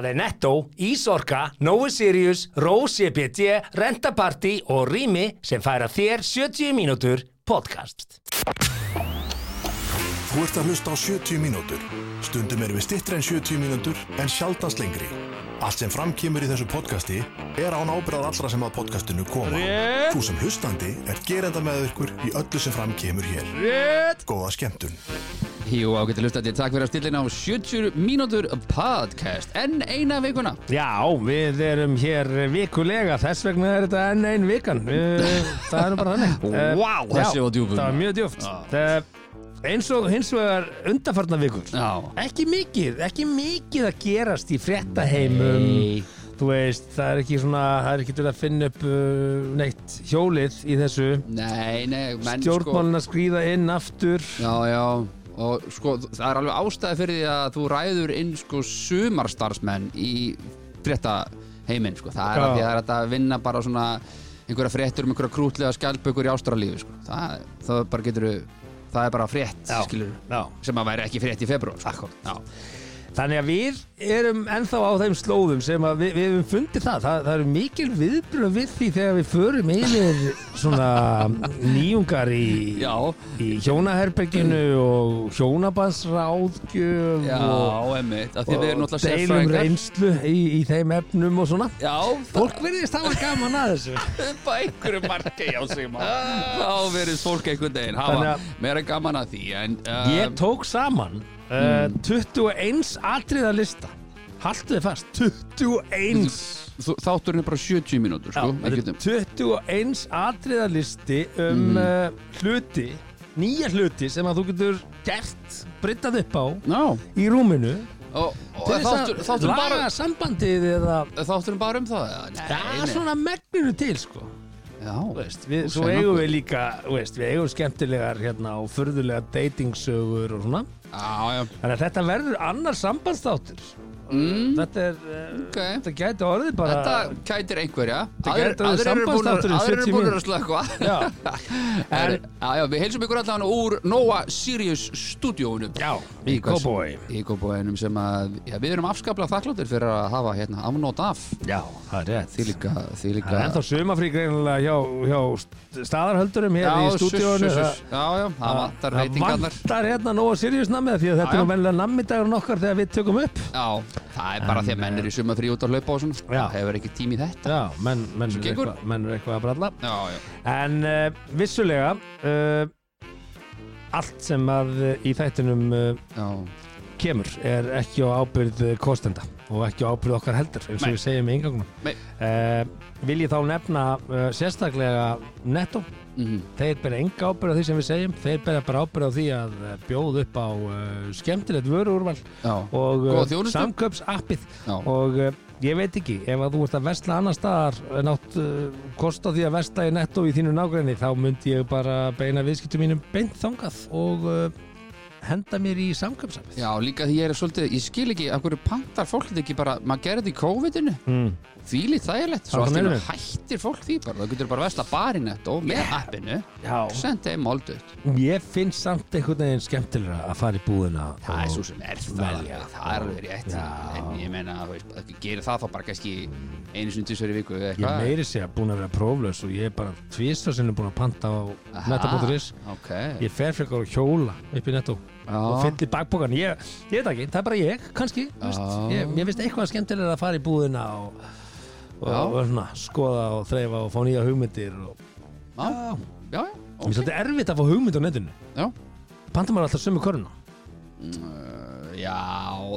Það er Netto, Ísorka, Nói Sirius, E Rose EPT, Renta Party og Rými sem færa þér 70 mínútur podcast. Þú ert að hlusta á 70 mínútur. Stundum erum við stittri en 70 mínútur en sjaldast lengri. Allt sem framkýmur í þessu podcasti er án ábyrðað allra sem að podcastinu koma. Rétt. Þú sem hlustandi er gerenda með ykkur í öllu sem framkýmur hér. Rétt. Góða skemmtun. Jú, ágætti hlustandi, takk fyrir að stillina á 70 mínútur podcast En eina vikuna Já, við erum hér vikulega, þess vegna er þetta enn ein vikan. Eh, Það er nú bara þannig. Eh, Vá, þessi já, var djúpur. Það var mjög djúft. Eh, Eins og hins vegar undarfarna vikur. Já. Ekki mikið, ekki mikið að gerast í fréttaheimum. Nei. Þú veist, það er ekki svona, það er ekki til að finna upp uh, neitt hjólið í þessu. Nei, nei, menn Stjórnmálin að skrýða inn aftur. sko Já, já, og sko, það er alveg ástæði fyrir því að þú ræður inn sko sumarstarfsmenn í frétta heiminn sko. Það er Já. að því að það er hægt að vinna bara svona einhverja fréttur um einhverja krútlega skjálpökur í ástralífi sko. það, það bara getur það er bara frétt, Já, skilur já. sem að væri ekki frétt í februar sko. Já. Þannig að við erum ennþá á þeim slóðum sem að við, við hefum fundið það. það. Það eru mikil viðbröð við því þegar við förum yfir svona nýjungar í, Já. í hjónaherberginu og hjónabandsráðgjöf Já, og, emmitt, af því að við erum og náttúrulega deilum sérfræðingar. reynslu í, í þeim efnum og svona. Já, Fólk verðist hafa gaman að þessu. upp á einhverju marki á sig maður þá verður fólk einhvern veginn Þannig hafa að- meira gaman að því en um, Mm. Ég tók saman uh, 21 atriða lista Haltu þið fast 21 þú- þátturinn er bara 70 mínútur Já, sko, þetta er ekkert um 21 atriða listi um Mm. uh, hluti Nýja hluti sem að þú getur gert Brittað upp á Já, í rúminu og, og Til þess þáttur, að þátturinn laga bara, sambandið eða þátturinn bara um það eða? Nei, Það nei. er svona megninu til sko Þú Já, Veist, við, Þú svo segir eigum nokkuð. við líka þú veist, við eigum skemmtilegar hérna, og furðulegar datingsögur og svona já, já, Þannig að þetta verður annar sambandsþáttur Þetta er uh, ok Þetta gæti orðið bara Þetta kætir einhverja Þetta Aðrir- gæti orðið aðrir eru búnir- sambandsþátturinn, Aðrir eru 70 búin að mínútur. slökva Já, En, já, já, við heilsum ykkur allan úr Nóa Sirius stúdíóinu já í Kópói í Kópavóinum sem að já, við erum afskaplega þakkláttir fyrir að hafa hérna afnót af Já, það er rétt því líka, því Það líka er ennþá sumafrí greinilega hjá, hjá st- staðarhöldurum hér í stúdíónu já, já, það vantar veitingarnar vantar hérna nóg að Sirius namið því að þetta Já, er já. nú venlega nammidagur okkar þegar við tökum upp já, það er bara því að menn er í suma frí út að laupa og svona Já. það hefur ekki tími í þetta Já, menn, menn, er, gengur. eitthvað, menn er eitthvað að bralla já, já, En uh, vissulega uh, allt sem að uh, í þættinum uh, já, kemur er ekki á ábyrð eh, kostenda og ekki á ábyrð okkar heldur eins og Nei. við segjum í ingangunum Nei. uh, vil ég þá nefna uh, sérstaklega netto mhm, þeir bera enga ábyrð á því sem við segjum þeir bera bara ábyrð á því að eh, bjóða upp á uh, skemmtilegt vöruúrval já og Góða þjónustu. samköpsappið Já. og uh, ég veit ekki, ef að þú ert að vesla annar staðar en átt uh, kost á því að vesla í netto í þínu nágræni þá myndi ég bara beina viðskiptum mínum beint þangað og uh, henda mér í samköpsappið Já, líka því ég er svolítið, ég skil ekki af hverju pantar fólk þetta ekki bara, maður gerir þetta í COVID-inu mm. þvílið þægilegt, Það svo allt í er einu það. hættir fólk því bara, það getur bara vesla barinett og með appinu, Já, sendið þeim moldut ég finn samt einhvern veginn skemmtilega að fara í búðina það er og- svo sem er það velja. það er alveg rétt Já. en ég meina, þú veist, það gerir það þá bara kannski einu sinni tísveri viku eða Ég er eitthvað meiri segja búin að vera próflaus og ég er bara tvistar sinni búin að panta á Aha, netta.is ok Ég fer frekar og hjóla upp í netto og Já. fyllir bakbókan ég, ég veit ekki, það er bara ég, kannski þú veist. Já. ég, ég veist eitthvað skemmtilega að fara í búðina og, og, Já. og svona, skoða og þreifa og fá nýja hugmyndir og Já, já, já, Mér finnst þetta erfitt að fá hugmynd á netinu já. Panta maður alltaf sömu köruna Uh, já,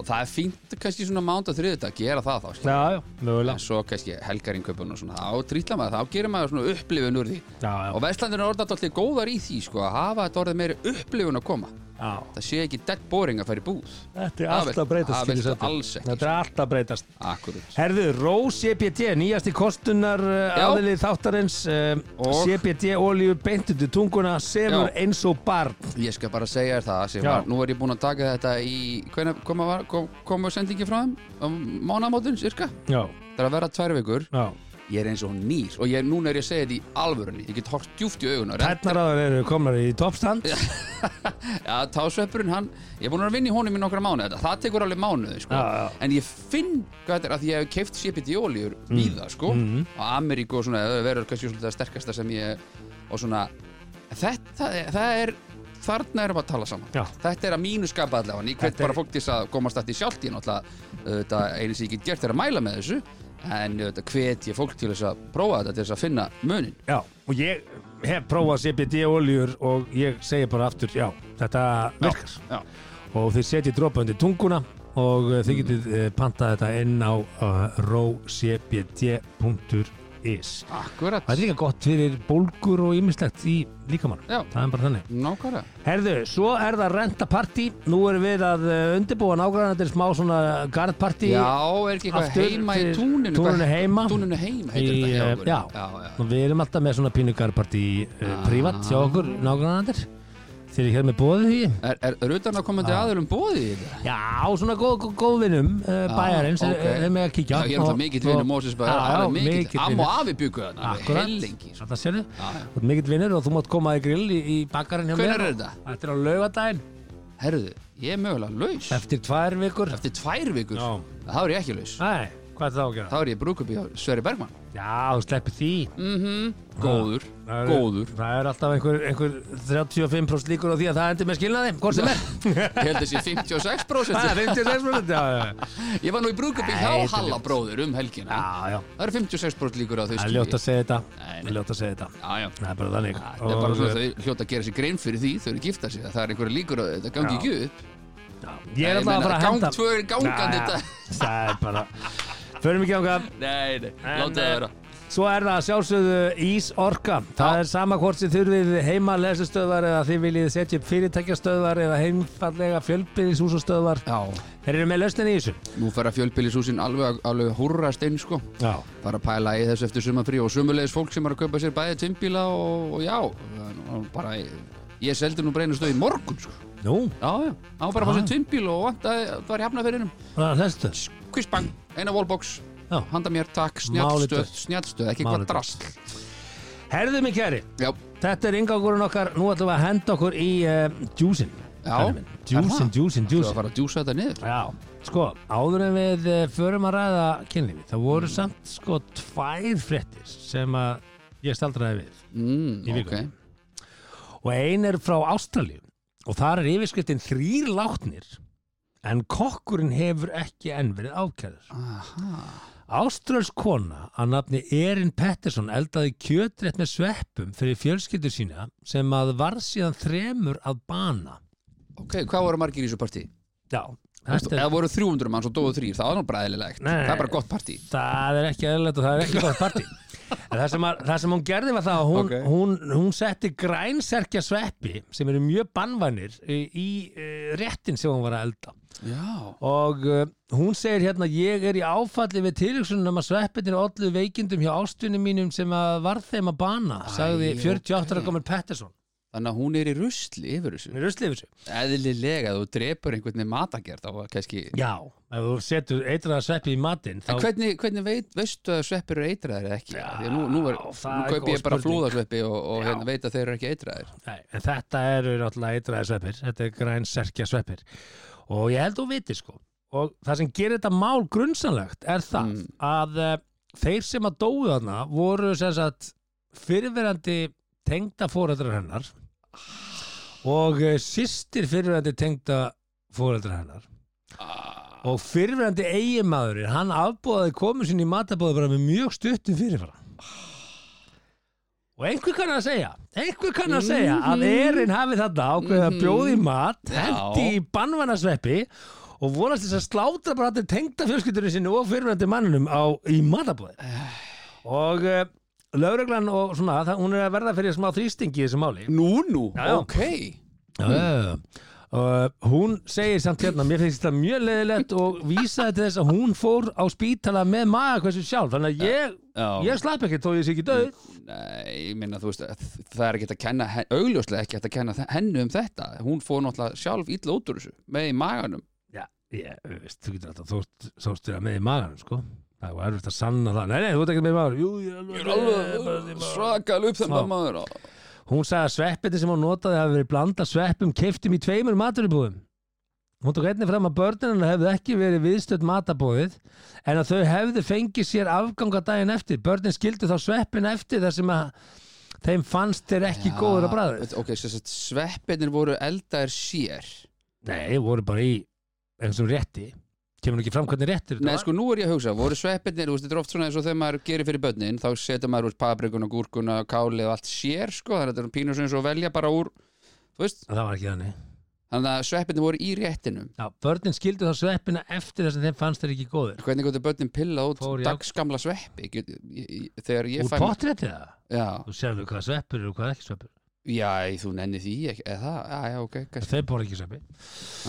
það er fínt kannski svona mánd og þriðut að gera það þá skilur. Já, já, mögulega en svo kannski helgarinköpun og svona þá trýtla maður, þá gerir maður svona upplifun úr því Já, já, og Vestlandin er orðið alltaf góðar í því sko, að hafa þetta orðið meiri upplifun að koma já það sé ekki dead boring að fara í búð Þetta er Það alltaf vilt- að breytast það skilur viltu þetta. alls ekki, sko. Þetta er alltaf að breytast akkurat Herðu, Rós CPT, nýjasti kostunar uh, Já. aðlið þáttarins um, Og? CPT olíu beintundu tunguna semur Já. eins og barn Ég skal bara segja þér það sem Já. var, nú er ég búinn að taka þetta í hvenær kom, að var- kom, kom sendingi frá þeim um, mánamótin cirka, Já, það er að vera tvær vikur já, ég er eins og hún nýr og ég, núna er ég að segja þetta í alvörunni ég get hort djúft í augunar Tærnar á þér eru komnar í toppstand ja, tásveppurinn hann ég er búin að vinna í honum í nokkra mánuð þetta það tekur alveg mánuð sko. Já, já. en ég finn hvað þetta er að því ég hef keift CPD olíur mm. víða sko Mm-hmm. á Ameríku og svona það verður kannski svona það sterkasta sem ég og svona þetta það er þarna erum við að tala saman Já. þetta er að mínu skapa allavega ég hvet Þetta er- bara fólk til þess að komast þetta í sjálft ég náttúrulega þetta einu sem ég get gert er að mæla með þessu en þetta hvet ég fólk til þess að prófa þetta til þess að finna munin Já, og ég hef prófað CBD oljur og ég segi bara aftur, já, þetta virkar já, og þið setjið dropa undir tunguna og eh, þið getið mm. pantað þetta inn á uh, rowcbd.is akkurat Það er líka gott fyrir bólgur og ýmislegt í líkamann, Já. það er bara þannig nákvæmlega Herðu, svo er það rentapartí nú erum við að eh, undirbúa nágrann þetta er smá svona garðpartí Já, er ekki eitthvað aftur heima í fyrir túninu túninu hvað- heima. Túninu heima heitir Í, þetta hjá eh, okkur. já, já, já. og við erum alltaf með svona pínugarparti uh, privat hjá okkur nágrannandir þeir eru hér með bóðið því Er, er, er utan að komandi aðurum bóði í þetta? já, svona góð, góð, góð vinnum uh, bæjarins okay. ok. er, er með að kíkja Já, ég er alltaf mikill vinur Mósis bara, alveg mikill Amma og afi byggu þarna, alveg hellingi hellingi það sérðu, þú ert mikill vinnur og þú mátt koma í grill í, í bakkarinn hjá Hvenær mér er þetta? þetta er á laugadaginn, Herðu, ég er mögulega laus eftir tvær vikur Eftir tvær vikur Já. Það er ég ekki laus nei, hvað er það að gera? Það er ég brúkup í Sverri Bergman já, þú sleppir því Góður, Það eru- Mm, góður það er alltaf einhver, einhver 35% líkur á því að það endur með skilnaði hvort sem er Ég held þessi 56% Það er 56% já, já, já. Ég var nú í brúkup í Nei, hjá þetta er Halla ljótt. bróður um helgina já, já. Það eru 56% líkur á þau Það er skilji. ljótt að segja þetta Nei, Það nei. er ljótt að segja þetta Já, já Það er bara þannig Það er bara svona þau hljóta að gera sér grein fyrir því þau eru giftað sér, það er einhverja líkur að þetta gangi Já. ekki upp Ég er Nei, ég alltaf meina, að fara að gang henda tvö er Já, já. gangandi þetta. Það er bara Förum ekki ánga Nei, nei, En, láta það eh, vera Svo er það að sjálfsögðu Ísorka Það Já. er sama hvort sem þurfið heima lesustöðvar eða þið viljið setja upp fyrirtækjastöðvar eða heimfallega fjölbyrðishúsastöðvar Já, Þeir eru með lausnin í þessu nú fara fjölbýlishúsin alveg, að- alveg hurrast inn sko Já bara að pæla í þessu eftir sumafrí og sumulegis fólk sem er að kaupa sér bæði tvimbíla og, og já, það er nú bara ég seldi nú breynastu í morgun sko Nú, Já, já, hann var bara að fá sér tvimbíl og vantaði það var í hafnaferinum það er þessu Kvistbang, eina wallbox, Já. handa mér, takk Málið snjallstöð, dautt. snjallstöð, ekki hvað Málið dautt. drast Herðu mig kæri Já, Þetta er yngangurinn okkar, nú ætlum við að henda okkur í uh, djúsin Já. Er Djúsin, það? djúsin, þú að djúsin fara að djúsa þetta niður Já, sko, áður en við eh, förum að ræða kynlífi, það voru Mm. samt sko tvær fréttir sem að ég staldraði við Í mm, viku. Ok, og ein er frá Ástralíu og þar er yfirskriftin þrýr látnir en kokkurinn hefur ekki enn verið ákjæður. aha Ástrals kona að nafni Erin Pettersson eldaði kjötrétt með sveppum fyrir fjölskyldur sína sem að varð síðan þremur að bana. Ok, hvað voru margir í þessu partí? Já, þetta Eða er, voru 300 manns og dóðu þrýr, það var nú bræðilegt Nei. Það er bara gott partí það er ekki eðlilegt og það er ekki gott partí. En það sem, að, það sem hún gerði var það að hún, Ok. hún, hún setti grænserkja sveppi sem eru mjög bannvænir í, í eh, réttin sem hún var að elda. Já, og uh, hún segir hérna ég er í áfalli við tilhugsunum að sveppinir ollu veikindum hjá ástvinni mínum sem að varð þeim að bana sagði Æ, 48 ára ok. komur Pettersson þannig að hún er í rusli yfir þessu hún er ruslið þessu Eðlilega, þú drepur einhvern veginn matagerð á að kannski já, ef þú setur eitraða sveppi í matinn þá En hvernig, hvernig veit, veistu að sveppir eru eitraðir eða ekki? Já, Því að nú, nú, er, það nú er kaupi góð ég bara spurning. flúðasveppi og, og Já. hérna, veit að þeir eru ekki eitraðir Nei, en þetta eru náttúrulega eitraði sveppir, þetta er græn serkja sveppir og ég held þú viti sko og það sem gerir þetta mál grunnsanlegt er það Mm. að uh, þeir sem að dóu þarna voru sem sagt fyrirverandi tengda fóreldrar hennar og uh, sýstir fyrirverandi tengda fóreldrar hennar ah, og fyrirverandi eiginmaðurinn hann afbúðaði komu sinni í matabóði bara með mjög stuttum fyrirfara og einhver kann að segja einhver kann að segja að erinn hafi þetta ákveðið að Mhm. bjóði í mat Já. hendi í bannvannasveppi og vonast þess að slátra bara allir tengda fjölskyldurinn sinni og fyrirverandi manninum á, í matabóði Eh. og uh, lögreglan og svona það, hún er að verða fyrir smá þrýstingi í þessu máli Nú, nú, Já, já. ok Já, já, já. Uh, hún segir samt hérna mér finnst þetta mjög leðilegt og vísaði til þess að hún fór á spítala með maga hversu sjálf þannig að ég, Já. ég slapp ekki þó ég sé ekki döð Nei, ég minna, þú veist, að það er ekki hægt að kenna hen- augljóslega ekki hægt að kenna þe- henni um þetta Hún fór náttúrulega sjálf illa út úr þessu með í maganum já, ég, veist, þú getur alltaf þóst, þóstur að með í maganum sko Það var erfitt að sanna það. Nei, nei, þú ert ekkert með maður. Jú, ég Ég er er alveg, alveg svakal upp þeim Já. maður á. Hún sagði að sveppinni sem hún notaði hafi verið blanda sveppum keiftum í tveimur maturubúðum. Hún tók einnig fram að börnina hefðu ekki verið viðstödd matabóðið en að þau hefðu fengið sér afganga daginn eftir. Börnin skildu þá sveppin eftir þar sem að þeim fannst þeir ekki góður að bræða. Ok, sem sagt, sveppinir voru eldaðir sér Nei, voru bara í einhversum rétti. Kemur nú ekki fram hvernig réttir Nei, sko, nú er ég að hugsa, voru sveppinir, þú veist, þetta er oft svona eins og þegar maður gerir fyrir börnin þá setja maður úr paprikuna, gúrkuna, kálið og allt sér, sko, þannig að þetta er pínur sem eins og velja bara úr, þú veist, Það var ekki þannig. þannig að sveppinir voru í réttinum Já, börnin skildu þá sveppina eftir þar sem þeim fannst þeir ekki góður. Hvernig gott er börnin pilla út Fór í- dagskamla sveppi get, ég, ég- þegar ég Úr fæ pottrétti það? Já, Þú sérðu hvað sveppur eru og hvað ekki sveppur. já, þú nenni því ekki, eða það, já, já, ok, kannski Þeir bóra ekki sveppi.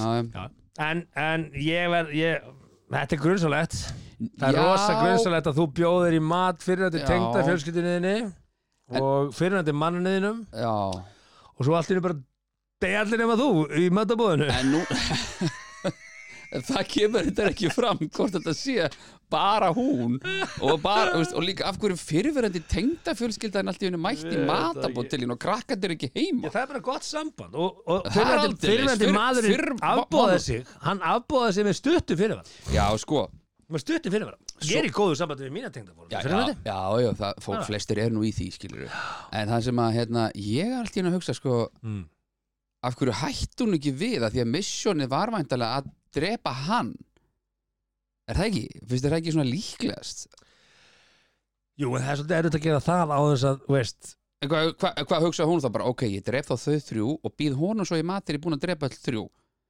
Já, já. En, en ég verð, ég, þetta er grunnsalegt. Það er Já. rosa grunnsalegt að þú bjóðir í mat fyrirnandi Já. tengda fjölskyldinniðinni og fyrirnandi manninniðinum já. og svo allt í einu bara degi allir nema þú í matabóðinu. En nú En Það kemur þetta ekki fram hvort þetta sé bara hún og, bara, þú veist, og líka af hverju fyrirverandi tengdafjölskyldan allt í henni mætt í Ég veit matabóttilin og krakkandir ekki heima Ég, það er bara gott samband og, og Það er fyrirnandi, aldeilis. Fyrr- maðurinn fyrr- afbóðaði maður- sig, hann afbóðaði sig með stuttu fyrirvara. Já, sko Með stuttu fyrirvara. Ég er í góðu sambandi við mína tengda Já, já, já, já það, fólk Já. flestir er nú í því, skilur En það sem að, hérna, ég er allt í henni að hugsa, sko Mm. Af hverju hætti hún ekki við að því að missjónið var væntalega að drepa hann Er það ekki? Finnst þér það ekki svona líklegast? Jú, en það er svolítið erut að gera það á þess að, þú veist, En Hvað hva, hva hugsa hún þá bara, ok, ég dref þá þau þrjú og býð honum svo í mat þegar ég er búin að drepa all þrjú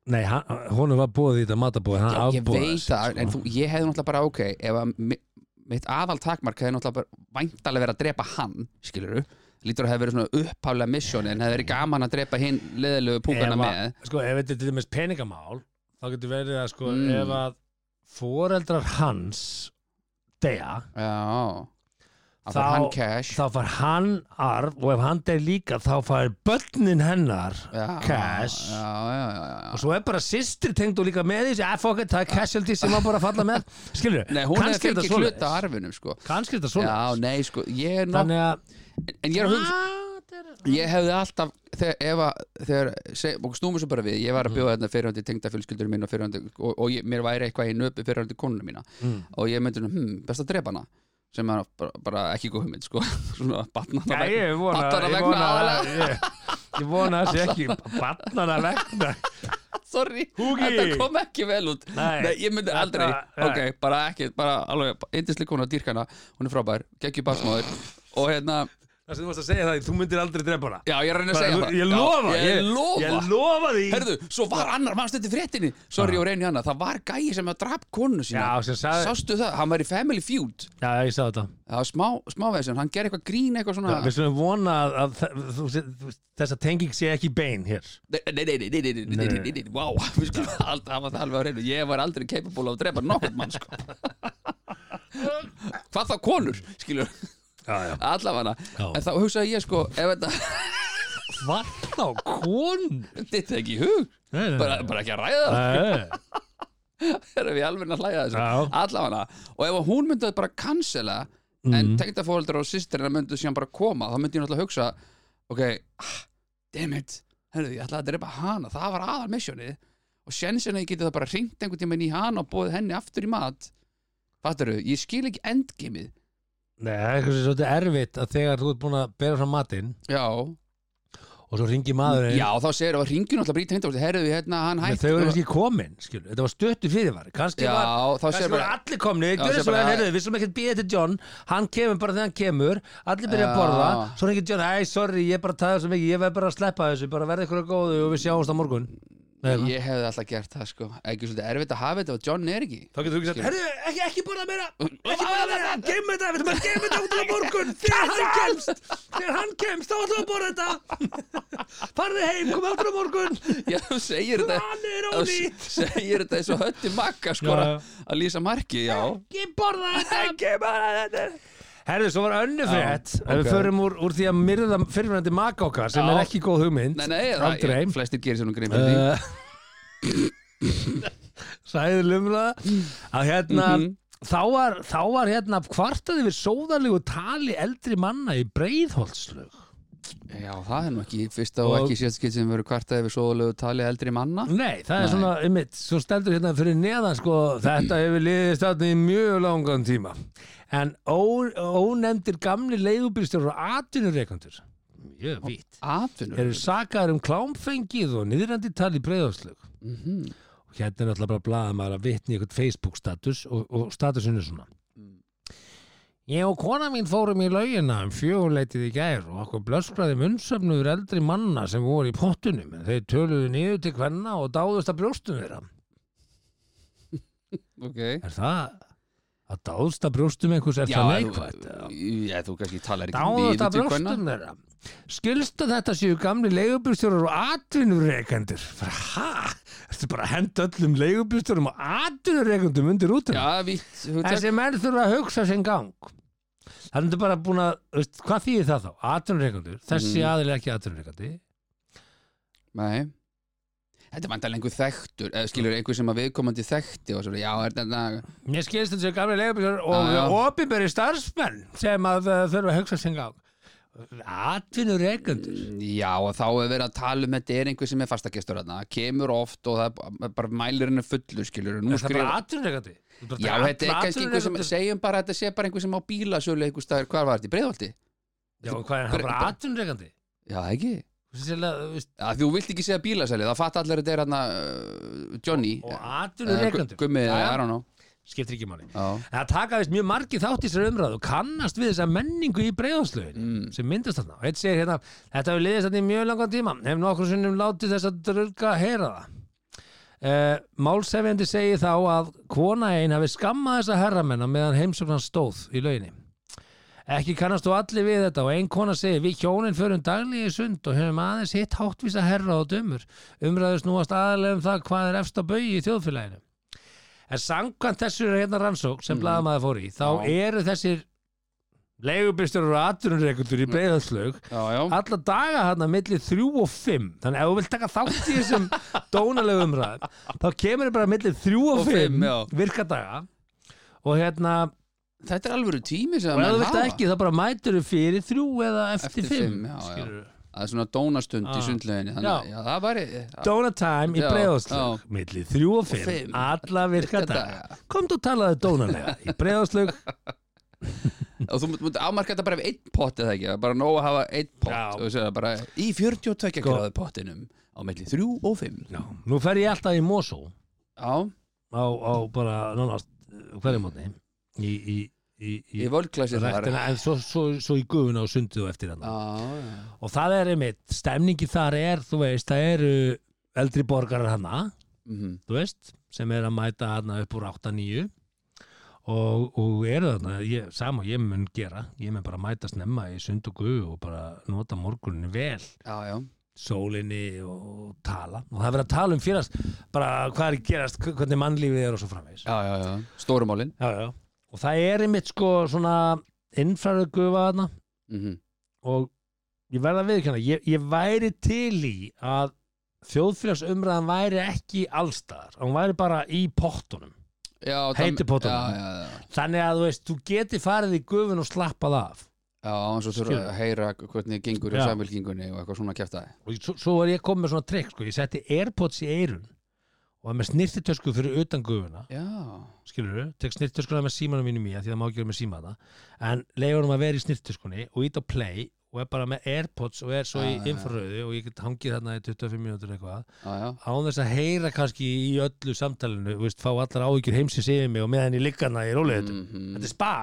nei, hann, honum var búið í þetta matabóð, hann Já, afbóðaði. ég veit sig, það, sko. en þú, ég hefði náttúrulega bara, ok ef að mi- mitt aðal takmark hefði náttúrulega bara væntalega verið að drepa hann skilur þú, lítur að hefði verið svona upphaflega misjóni en hefði verið gaman að drepa hinn leðilegu púkana Ef að- með Sko, ef þetta er til dæmis peningamál, þá getur verið að, sko, Mm. ef að foreldrar hans deyja, Já, þá Þá- hann cash þá fær hann arf og ef hann deyja líka, þá fær börnin hennar já, cash. Já, já, já, já. Og svo er bara systri tengd og líka með því, að fokk, það er casualty sem hann bara að falla með. Skilur, Nei, hún hefði kannski er þetta fengið hluta af svoleiðis. arfinum sko. Kannski er þetta Já, svoleiðis. nei, sko, ég er nokk Þannig að, En ég er að hugsa Ah, þetta er- Ég hefði alltaf, þegar, ef að, þegar, seg, og snúmur svo bara við, ég Mhm. var að bjóða þarna fyrirhandi tengdafjölskyldur mín og fyrirhandi, og, og ég, mér væri eitthvað í nöpi fyrirhandi konuna mína, Mm. og ég myndi, hm, best að drepa hana, sem er bara, bara ekki góð hugmynd, sko, svona, batnana Já, ég vona, batnana ég vegna vona, aðalega, ég, ég vona þessi ekki batnana vegna sorry, Húgi. þetta kom ekki vel út, Nei. ég myndi Þetta- aldrei, nei. ok, bara ekki, bara alveg, yndisli kona, dýrkana, hún er frábær, geggjur basmáður, og hérna, Það sem þú varst að segja það, þú myndir aldrei drepa hana já, ég er að reyna að segja Bara, bara, Ég Já, lofa, ég lofa, ég lofa því Herðu, svo var annar mann stöndi fréttinni Sorry, og reyni annað, það var gæi sem að drap konu sína Já, sem sagði- Sástu það, hann var í Family Feud Já, ég sá þetta Það var smá, smá veginn, hann gerði eitthvað grín eitthvað svona Við slumum vona að, að þe- þú sé- þú- þessa tenging sé ekki bein hér Nei, nei, nei, nei, nei, nei, nei, nei, nei, nei, nei, wow Við skulum aldrei hafa það alveg á reynu Ég var aldrei capable af að drepa nokkurn mann, sko Hvað þá konur, skilur Já, já Allafana, Já. en þá hugsaði ég sko Ef þetta, Hvað þá, kon? þetta ekki í hug bara, bara ekki að ræða það Já, þegar við alveg að hlæja þessu Já. allavega, og ef að hún myndi bara cancela en Mhm. tengdafóreldrar og sýstirina myndu síðan bara koma, þá myndi ég náttúrulega hugsa ok, ah, damn it herru, ég ætlaði að drepa hana, það var aðal misjónið og sjensin að ég geti það bara hringt einhvern tímann í hana og bóðið henni aftur í mat fattaru, ég skil ekki endgimið Nei, það er eitthvað sem er svolítið erfitt að þegar þú ert búin að bera fram matinn já, og svo ringi maðurinn já, þá segir það hringjum alltaf bara í tengdafóreldrar, herru, hérna, hann en hætt þau eru ekki komin, skilu Þetta var stöttu fyrirvar Kannski já, var þá Kannski segir voru bara allir komni, Já, gjörðu segir svo vel, bara- heyrðu, við sem ekkert býða til John hann kemur bara þegar hann kemur allir byrja að Já. borða, svo hengir John æ, sorry, ég bara taði svo mikið, ég verð bara að sleppa þessu bara verði ykkur að góðu og við sjáumst á morgun Nei, ég hefði alltaf gert það sko ekki svolítið erfitt að hafa þetta og John er ekki þá getur þú ekki sagt, Skilur. heyrðu, ekki, ekki borða meira ekki borða meira, geym þetta, við ætlum að geym þetta út á morgun, þegar hann kemst þegar hann kemst, þá ætlum við að borða þetta farði heim, kom áttur á morgun Já, þú segir þetta hann er þú óný se- segir þetta eins og hötti makka Já, sko að já. að lýsa marki, já ekki borða þetta ekki borða þetta Herðu, svo var önnu frétt Já, Ef ok. Við förum úr, úr því að myrða fyrirvændi maka okkar sem Já. er ekki góð hugmynd Nei, nei, það Aldrei Eh, er, flestir gerir sem hún grín fyrir því uh, Sæðilumra að hérna Mhm. þá var, þá var hérna kvartað yfir sóðalegu tali eldri manna í breiðholtslög Já, það er nú ekki fyrsta og, Og- Mm. ekki síðast skilt sem verið kvartað yfir sóðulegu tali eldri manna Nei, það er Nei. svona, einmitt, svo stendur hérna fyrir neðan sko, þetta hefur liðist þarna í mjög langan tíma en ó, ónefndir gamli leigubýrstjórar og atvinnureikandur mjög vitt Atvinnur eru sakaðar um klámfengið og niðrandi tali breiðarslög Mhm, og hérna er náttúrulega bara blaða maður að vitni í eitthvað Facebook status og, og statusinu svona Mm. Ég og kona mín fórum í laugina um fjöguleitið í gær og okkur blöskraði munnsöfnuður eldri manna sem voru í pottunum en þeir töluðu niður til hvenna og dáðust að brjóstum þeirra. Ok Er það að dáðst að brjóstum einhvers er það neikvætt? eða? Já, þú kannski talar ekki Dáðust niður að til kvenna. brjóstum þeirra. Skilst að þetta séu gamli leigubyrstjórar og atvinnureikendur? Hæ? Ertu bara að henda öllum leigubyrstjórum og atvinnureikendum undir útum? Já, vitt hugtak Þessi menn þurfa að hugsa sinn gang. Það er þetta bara búin að, veist, hvað þýðir það þá? Atvinnureikendur, þessi Mm. mm. aðil ekki atvinnureikandi. Nei Þetta er vandalega einhver þekktur eða skilur einhver sem að viðkomandi þekkti og svo, já, er þetta Mér skilst þetta séu gamli leigubyrstjórar Já, já. og opinberi starfsmenn sem að uh, þurfa að hugsa sinn gang. Atvinnureikendur. Já, og þá er verið að tala um þetta er einhver sem er fastagestur þarna, kemur oft og það er bara- bara mælir henni fullur skilur Er það bara atvinnureikandi? Já, þetta er kannski einhver sem, segjum bara að þetta sé bara einhver sem á bílasölu einhver staðar, hvað var þetta, í breiðvaldi? Já, og hvað er hann Hver- bara atvinnureikandi? Já, ekki og Já, Þú vilt ekki segja bílasölu, það fatt allir að þetta er hann uh, Johnny eða Eh, Gu- atvinnureikandur Gummi, eða I don't know skiptir ekki máli Já, það taka vist mjög margi þátt í sér umræðu og kannast við þessa menningu í breiðarslögin Mm. sem myndast þarna og eitt segir hérna þetta hefur liðist þarna í mjög langan tíma hef nokkur sinnum látið þess að drölga heyra það Uh, málsefjandi segir þá að kona einn hafi skammað þessa herramenn á meðan heimsóknan stóð í lauginni ekki kannast þú allir við þetta og ein kona segir við hjónin förum daglega í sund og höfum aðeins hitt háttvísa herra og dömur umræðu snúast aðalega um það hvað er efst á baugi í þjóðfélaginu en samkvæmt þessu hérna rannsók sem mm. Mhm. blaðamaður fór í þá Já. eru þessir leigubistur og aturunreikundur í breiðarslög já, Mm. já alla daga hann að milli þrjú og fimm þannig ef þú vilt taka þátt í þessum dónalegu umræðum þá kemur þið bara milli þrjú og, Og fimm, fimm, já. virkadaga og hérna, Þetta er alvöru tími sem og ef menn þú vilt hafa. ekki þá bara mætur þau fyrir þrjú eða eftir, Eftir fimm, fimm, já, já. skilurðu. Það er svona dónastund í Ah. sundleginni Þannig Já. að já, það væri já, Dónatime í Já, breiðáslög milli þrjú og fimm, fimm. alla Virkadaga. virkadaga komdu og talaðu dónalega í breiðáslög Og þú mútt ámarka þetta bara ef einn pott eða ekki það er Bara nóg að hafa einn Já. pott og segja bara, Í 42 Sko. gráðu pottinum Á milli 3 og 5 Já, nú fer ég alltaf í Mosó á, á bara nánast hverjum átni í, í, í, í, í völdklassi þar ræktina en svo, svo, svo í gufuna og sundið og eftir hann Já, já og það er einmitt, stemningi þar er þú veist, það eru eldri borgarar hérna. hana, Mhm. þú veist sem er að mæta hana upp úr 8-9 og, og eru þarna ég, sama og ég mun gera ég mun bara mæta snemma í sund og guð og bara nota morgunin vel Já, já sólinni og tala og það er verið að tala um fyrst bara hvað er að gerast, hvernig mannlífið er og svo framvegis Já, já, já, stórumálin já, já. og það er einmitt sko svona innfraröð gufa þarna mm og ég verða að viðkjanna ég, ég væri til í að þjóðfélagsumræðan væri ekki allstaðar, hún væri bara í pottunum já, það- Heitu pottunum. Já, já, já, þannig að þú veist, þú geti farið í gufun og slappað af já, og svo þurfa Skilur. að heyra hvernig gengur í Já. samvilkingunni og eitthvað svona kjæftaði og svo, svo er ég komið með svona trikk sko. ég setti airpods í eirun og var með snirtitösku fyrir utan gufuna Já, skilur þú, tek snirtitöskuna með símanum mínum í að því það má ekki vera með síma það en leiður hún að vera í snirtitöskunni og ít á play og er bara með airpods og er svo Já, já, í já. infraröðu og ég get hangið þarna í 25 mínútur eitthvað já, já án þess að heyra kannski í öllu samtalinu, þú veist, fá allar áhyggjur heimsins yfir mig og meðan ég ligga hana í rólegðutum. Mhm. Þetta er spa.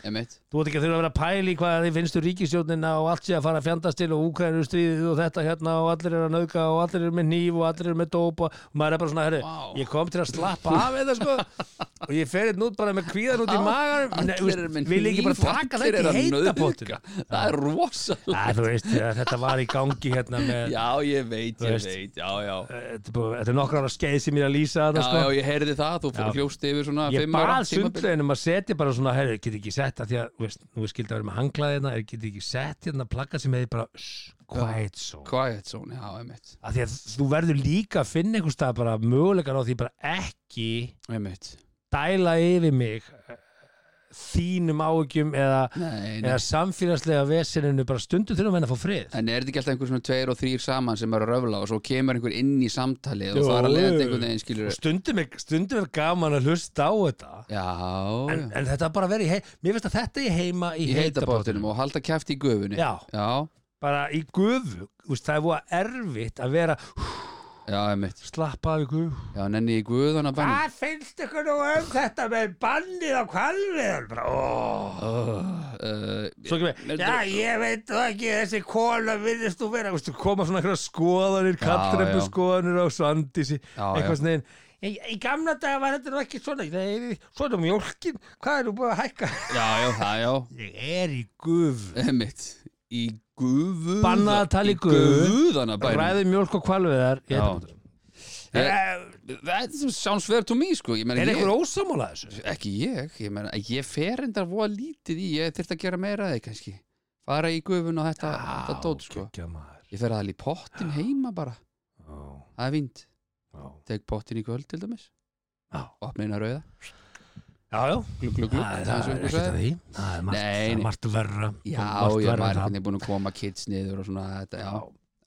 Emitt Þú ert ekki að þurfa að vera að pæla í hvað þið finnst um ríkisjónina og allt sé að fara að fjandast til og úkræðinu stríðið og þetta hérna og allir eru að nauðka og allir eru með nýf og allir eru með dóp og og maður er bara svona, herru, Vá. ég kom til að slappa af þetta sko og ég fer hérna út bara með kvíðan út í Já, maganum. Nei, þú Allir veist, eru með Vil ég ekki bara hníf, taka allir þetta í eru að heita nauðga. pottin? Það er rosalega Þú veist, þetta var í gangi hérna með, Já, ég veit, Þú ég veist. veit, já, já þetta er bara- þetta er nokkra ára skeið sem ég er að lýsa Já, þetta sko. já, ég heyrði það, þú fór Já. hljóst yfir svona ég fimm ára bað sundlegin um að setja bara svona herri, get ekki sett að því að, þú veist, nú er skildið að vera með hanglaði hérna, er get ekki sett hérna plakka sem hefði bara, shh, quiet zone Quiet zone, já, emitt að því að þú verður líka að finna einhver stað bara mögulegan á því bara ekki Emitt dæla yfir mig eh, þínum áhugjum eða, Nei, nei. eða samfélagslega vesininu bara stundu þurfum henni að fá frið En er þetta ekki alltaf einhver svona tveir og þrýr saman sem eru að röfla og svo kemur einhver inn í samtalið og Jú, það er að leiða jú. einhvern veginn skilur og stundum er, stundum er gaman að hlusta á þetta Já, en, en þetta bara verið í hei, mér finnst að þetta er heima í, í heitabóttinum og halda kæft í gufunni já, já, bara í gufu Þú veist, það er búið erfitt að vera já, einmitt slappa af í gufu Já, nenni í guðana bænum Hvað finnst ykkur nú um þetta með bannið á kvalviðan? Bara, ó. uh, Svo ekki með, já ég veit það ekki þessi kona virðist þú vera, veistu, koma svona einhverja skoðanir, kallreppu skoðanir á Svandísi, Já, já. eitthvað svona einn. Í, í gamla daga var þetta nú ekki svona, það er svona mjólkin, hvað er þú búið að hækka? Já, já, það, já, Ég er í guf. einmitt Í gufu Bannað að tala í guðana bænum Ræði mjólk og kvalviðar, ég Já. heitabótur. Er, Það sounds fair to me, sko Ég meina, Eh, er ég- einhver ósamála þessu? Ekki ég, ég meina, ég fer endar voða lítið í, ég þurft að gera meira af því kannski Fara í gufun og þetta, þetta dót, sko Gekkja maður. Ég fer aðal í pottin heima bara, Já, það er vind já. Tek pottin í kvöld til dæmis Já. Opna eina rauða, Já, já. glug, glug, glug Það eins það og er einhver ekkert sagði. að því. Það er margt- Nei, það nei. er margt verra. Margt Já, já, verra en maður það. er búin að koma kids niður og svona þetta, já.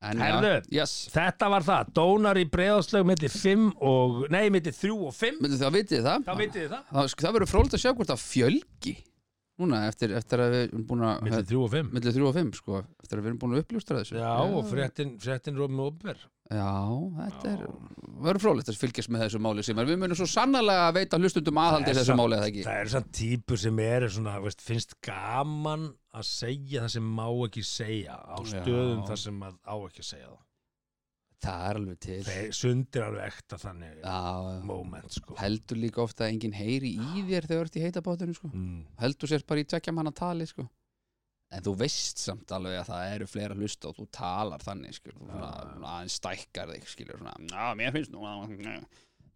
En, Herðu. já, yes. Þetta var það, dónar í breiðarslög millir 5 og, nei, millir 3 og 5 Myndu það vitið þið það? þá vitið þið það það, það verður fróld að sjá hvort það fjölgi núna eftir, eftir að við erum búin að Millir 3 og 5 millir 3 og 5 sko, eftir að við erum búin að uppljústra þessu Já, og fréttin, fréttin Rómi Óber Já, þetta er, verður frólægt að fylgjast með þessu máli sem við munum svo sannlega að veita hlustundum aðhaldi Það er þessu samt- máli eða ekki Það eru samt típur sem eru svona, veist, finnst gaman að segja það sem má ekki segja á stöðum Já. þar sem að á ekki að segja það Það er alveg til Já, Þeir sundir alveg ekta þannig já. moment, sko heldur líka ofta að enginn heyri Ah. í þér þegar þú ert í heitabátunum sko. mm. heldur sér bara í tvekja manna tali sko. en þú veist samt alveg að það eru fleira hlust og þú talar þannig skilur, þú svona, Ah. svona aðeins stækkar þig skilur, svona, "Já, mér finnst nú að-"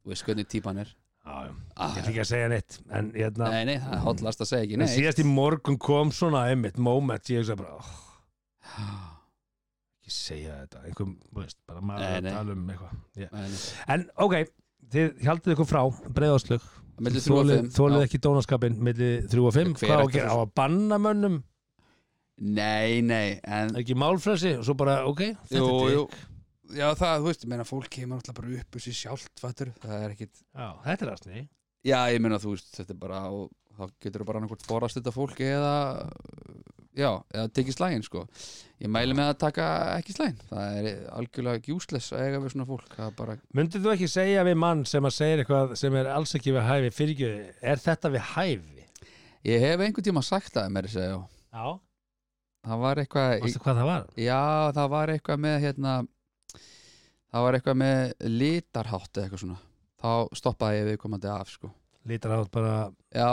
þú veist hvernig típan er Já, já, ah, ég ætla ekki að segja neitt En hérna, nei, nei, það er hotlast að segja ekki en nei. síðast í morgun kom svona einmitt moment, ég hugsa bara, oh, ekki segja þetta einhver, þú veist, bara maður Nei, að nei. tala um eitthvað yeah. Nei, nei. en ok, þið haldið ykkur frá breiðáslug, Milli þrjú og fimm, þólið já. ekki dónaskapin milli 3 og 5, hvað Hver á ætti að gera þessu? á að banna mönnum, nei, nei en, ekki málfrelsi og svo bara, ok, þetta jú, er jú. dick. já, það, þú veist, ég meina, fólk kemur alltaf bara upp úr sér sjálft, fattur það er ekkit já, þetta er aðsni Já, ég meina þú veist, þetta er bara og þá getur þú bara annarkvort forast þetta fólk eða, já, eða tekið slægin sko. Ég mæli með að taka ekki slægin, það er algjörlega gjúsles að eiga við svona fólk, það er bara myndið þú ekki segja við mann sem að segja eitthvað sem er alls ekki við hæfi fyrirgjöði, er þetta við hæfi? Ég hef einhvern tíma sagt það, mér að segja, já Já, það var eitthvað, veistu hvað það var? já, það var eitthvað með hérna, það var eitthvað með litarhátt eða eitthvað svona, þá stoppaði ég viðkomandi af sko. Lítar átt bara Já,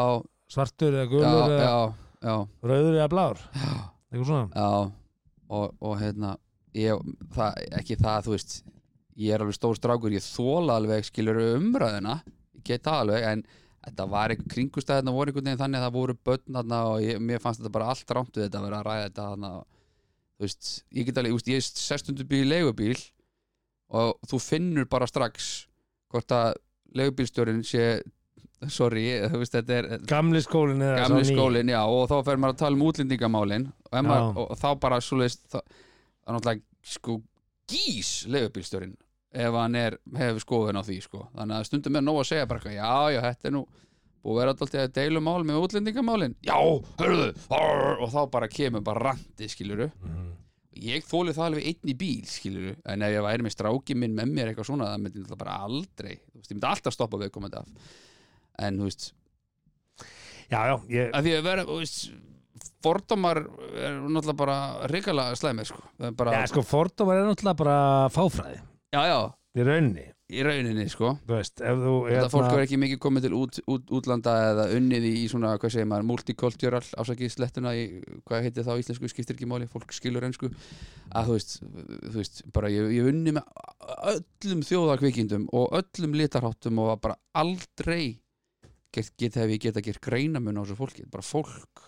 svartur eða já, gulur eða já, já rauður eða blár eitthvað svona, Já, og, og hérna ég, það, ekki það, þú veist ég er alveg stór strákur, ég þóla alveg skilur umræðuna, ég get það alveg en þetta var einhver kringustæðina voru einhvern veginn þannig að það voru börn þarna og ég, mér fannst þetta bara allt rámt við þetta að vera að ræða þetta þarna og, þú veist, ég get alveg, þú veist, ég er sestundu bíl í leigubíl og þú finnur bara strax hvort að leigubílstjórin sé sorry, þú veist, þetta er gamli skólin eða sá gamli nýi. skólinn, já, og þá fer maður að tala um útlendingamálin og, ef maður, Já. og þá bara svo leist það það er náttúrulega sko gís leifubílstjórin ef hann er, hefur skoðun á því sko. þannig að stundum er nóg að segja bara eitthvað, já, já, þetta er nú og vera alltaf að deilu mál með útlendingamálin já, hörðu, arr, og þá bara kemur bara randi, skiluru Mhm. ég þóli það alveg einn í bíl, skiluru en ef ég væri með stráki minn með mér eitthvað svona það myndi náttúrulega bara aldrei, þú veist, ég myndi alltaf stoppa við komandi af en, þú veist, Já, já, ég, að því að vera þú veist, fordómar er náttúrulega bara reikala slæmi sko. Það er bara, já, sko, fordómar er náttúrulega bara fáfræði já, já, í rauninni, í rauninni sko. þú veist, ef þú þetta fólk hérna- er ekki mikið komið til út, út, útlanda eða unnið í svona, hvað segir maður, multikultúral ásakið slettuna í, hvað heitir það á íslensku skiptir ekki máli, fólk skilur ennsku að þú veist, þú veist, bara ég, ég unni með öllum þjóðarkvikindum og öllum litarháttum og bara aldrei get, get, hef ég geta gert greinamun á þessu fólki, bara fólk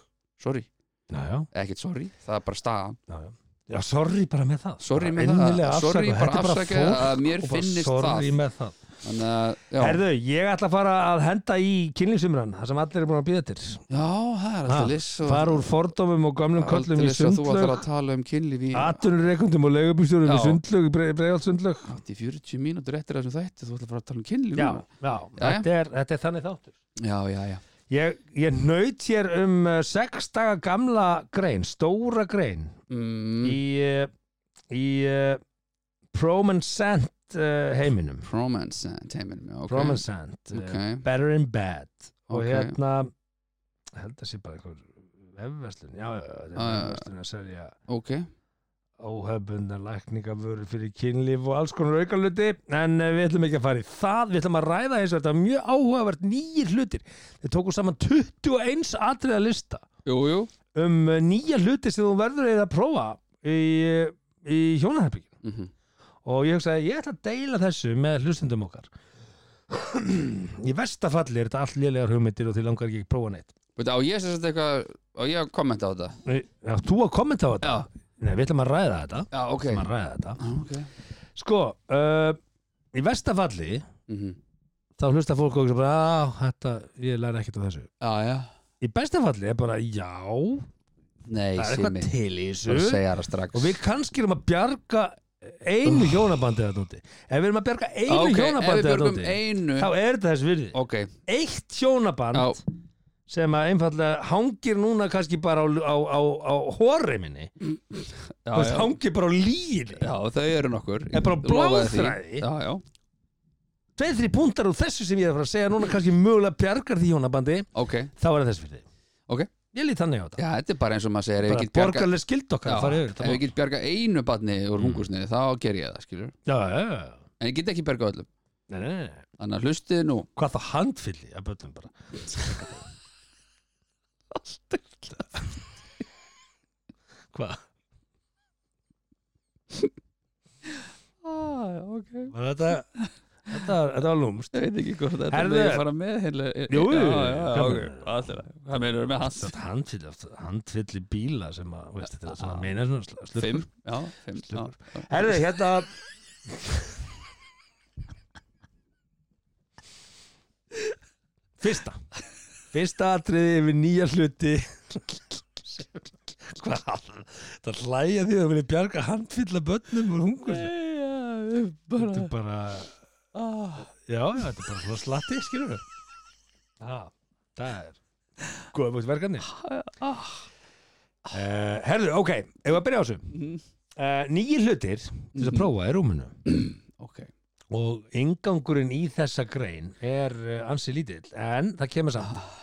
sorry, já, já, ekkert sorry, það er bara staðan já, já. já, sorry bara með það Sorry Bara með innilega það, sorry afsakað. Þetta bara er afsaka að mér og bara finnist sorry það með það Þannig að, já, Herðu, ég ætla að fara að henda í kynningsumrann, það sem allir er búin að býða til. já, það er alltaf liss og- Fara úr fordómum og gömlum Aldrei köllum í þess að þú ætlar sundlög, að tala um kynlíf í atunurreikundum og leigubýstjórum í Já. sundlög, í bregjált sundlög. 40 mínútur eftir þessum þætti þú ætlar að fara að tala um kynlíf Já, núna. já, Jæja. þetta er, þetta er þannig þáttur. já, já, já, Ég, ég naut hér um uh, sex daga gamla grein, stóra grein, mm, í, uh, í uh, Promensant uh, heiminum. Promance eh, teiminum, já, ok Promensant, uh, Ok, Better in Bad. Og Ok. hérna, ég held að sé bara eitthvað vefverslun, já, já, já, þetta er Já, Ah, já, já. vefverslun að selja ok óhefbundar lækningavöru fyrir kynlíf og alls konar aukaluti en eh, við ætlum ekki að fara í það við ætlum að ræða eins og þetta var mjög áhugavert nýjir hlutir, við tókum saman 21 atriða lista Jú, jú, um eh, nýja hluti sem þú verður eiginlega að prófa í, eh, í hjónaherbygginu mm og ég hugsaði, ég ætla að deila þessu með hlustendum okkar í vestafalli er þetta allt lélegar hugmyndir og því langar ekki að prófa neitt veit, á ég sem sagt eitthvað á ég að kommenta á þetta Nei, Já, þú að kommenta á þetta? Já. Nei, við ætlum að ræða þetta Já, ok, Við ætlum að ræða þetta Já, ok Sko, uh, í vestafalli Mhm. þá hlusta fólk og bara, "Á, þetta, ég læra ekkert á þessu Já, já Í bestafalli er bara, já Nei, það er Simi, eitthvað til í þú þessu segja það strax og við kannski erum að bjarga einu hjónabandi þetta úti Ef við erum að bjarga einu Ok, ef hjónabandi við þetta björgum úti einu þá er þetta þess virði Ok, Eitt hjónaband já, sem að einfallega hangir núna kannski bara á, á, á, á hóri minni já, Þú veist, já. hangir bara á líginni já, þau eru nokkur Er bara Ég lofaði því. bláþræði. Já, já, tveið, þrý púntar úr þessu sem ég er að fara að segja núna kannski mögulega bjargar því hjónabandi ok þá er það þess fyrir þig Ok. ég lít þannig á þetta Já, þetta er bara eins og maður segir ef við bara get bjarga- borgarlega skild okkar Já, að fara yfir ef þetta við mál. Mm. get bjarga einu barni úr hungusniði þá ger ég það, skilur já, já, já. En ég get ekki bjarga öllum Nei, nei, nei. Þannig að hlustið nú hvað það handfylli að böllum bara hvað ah, okay. var þetta þetta, þetta var lúmst Ég veit ekki hvort þetta Herðu. Herðu. með fara með heimlega Jú, jú, já, jú, já, já, hvað okay. meinar? Alltaf, Hvað meinar þú með hans? Þetta handfylli, handfylli bíla sem að, veist, þetta er svona meina svona sl- slurkur. Fimm, já, fimm já. Slurkur. Herðu, hérna Fyrsta Fyrsta atriði yfir nýja hluti Hvað? Það hlæja því að vilja bjarga handfylla börnum og hungur Nei, Þetta er bara ah, Já, já, þetta er bara svona slatti, skilur við Já, það er Góða búið verkefni ah. uh, Herðu, ok, ef við að byrja á þessu Mm, uh, Nýji hlutir til Mhm. þess að prófa er rúminu Ok, og ingangurinn í þessa grein er uh, ansi lítill en það kemur samt Ah.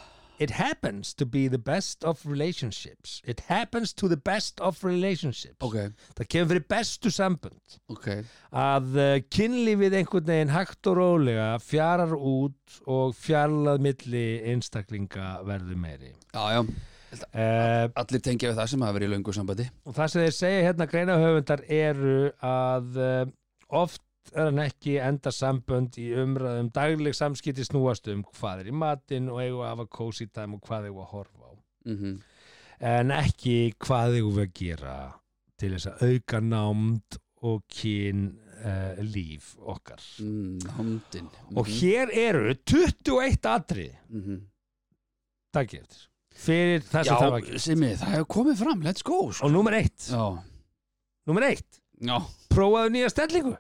It happens to be the best of relationships It happens to the best of relationships ok, Það kemur fyrir bestu sambund ok að uh, kynlífið einhvern veginn hægt og rólega fjarar út og fjarlað milli einstaklinga verður meiri Já, já, uh, allir tengja við það sem hafa verið í löngu sambandi og það sem þeir segja hérna greinahöfundar eru að uh, oft er hann ekki enda sambönd í umræðum dagleg samskipti snúast um hvað er í matinn og eigum við að hafa cozy time og hvað eigum við að horfa á mm -hmm. en ekki hvað eigum við að gera til þess að auka námd og kyn uh, líf okkar mm, Nándin og hér eru 21 atrið mm -hmm. takk ég eftir fyrir það sem þarf að Já, gera Simi, það hefur komið fram, let's go sko. og númer eitt, Já, númer eitt já prófaðu nýja stellingu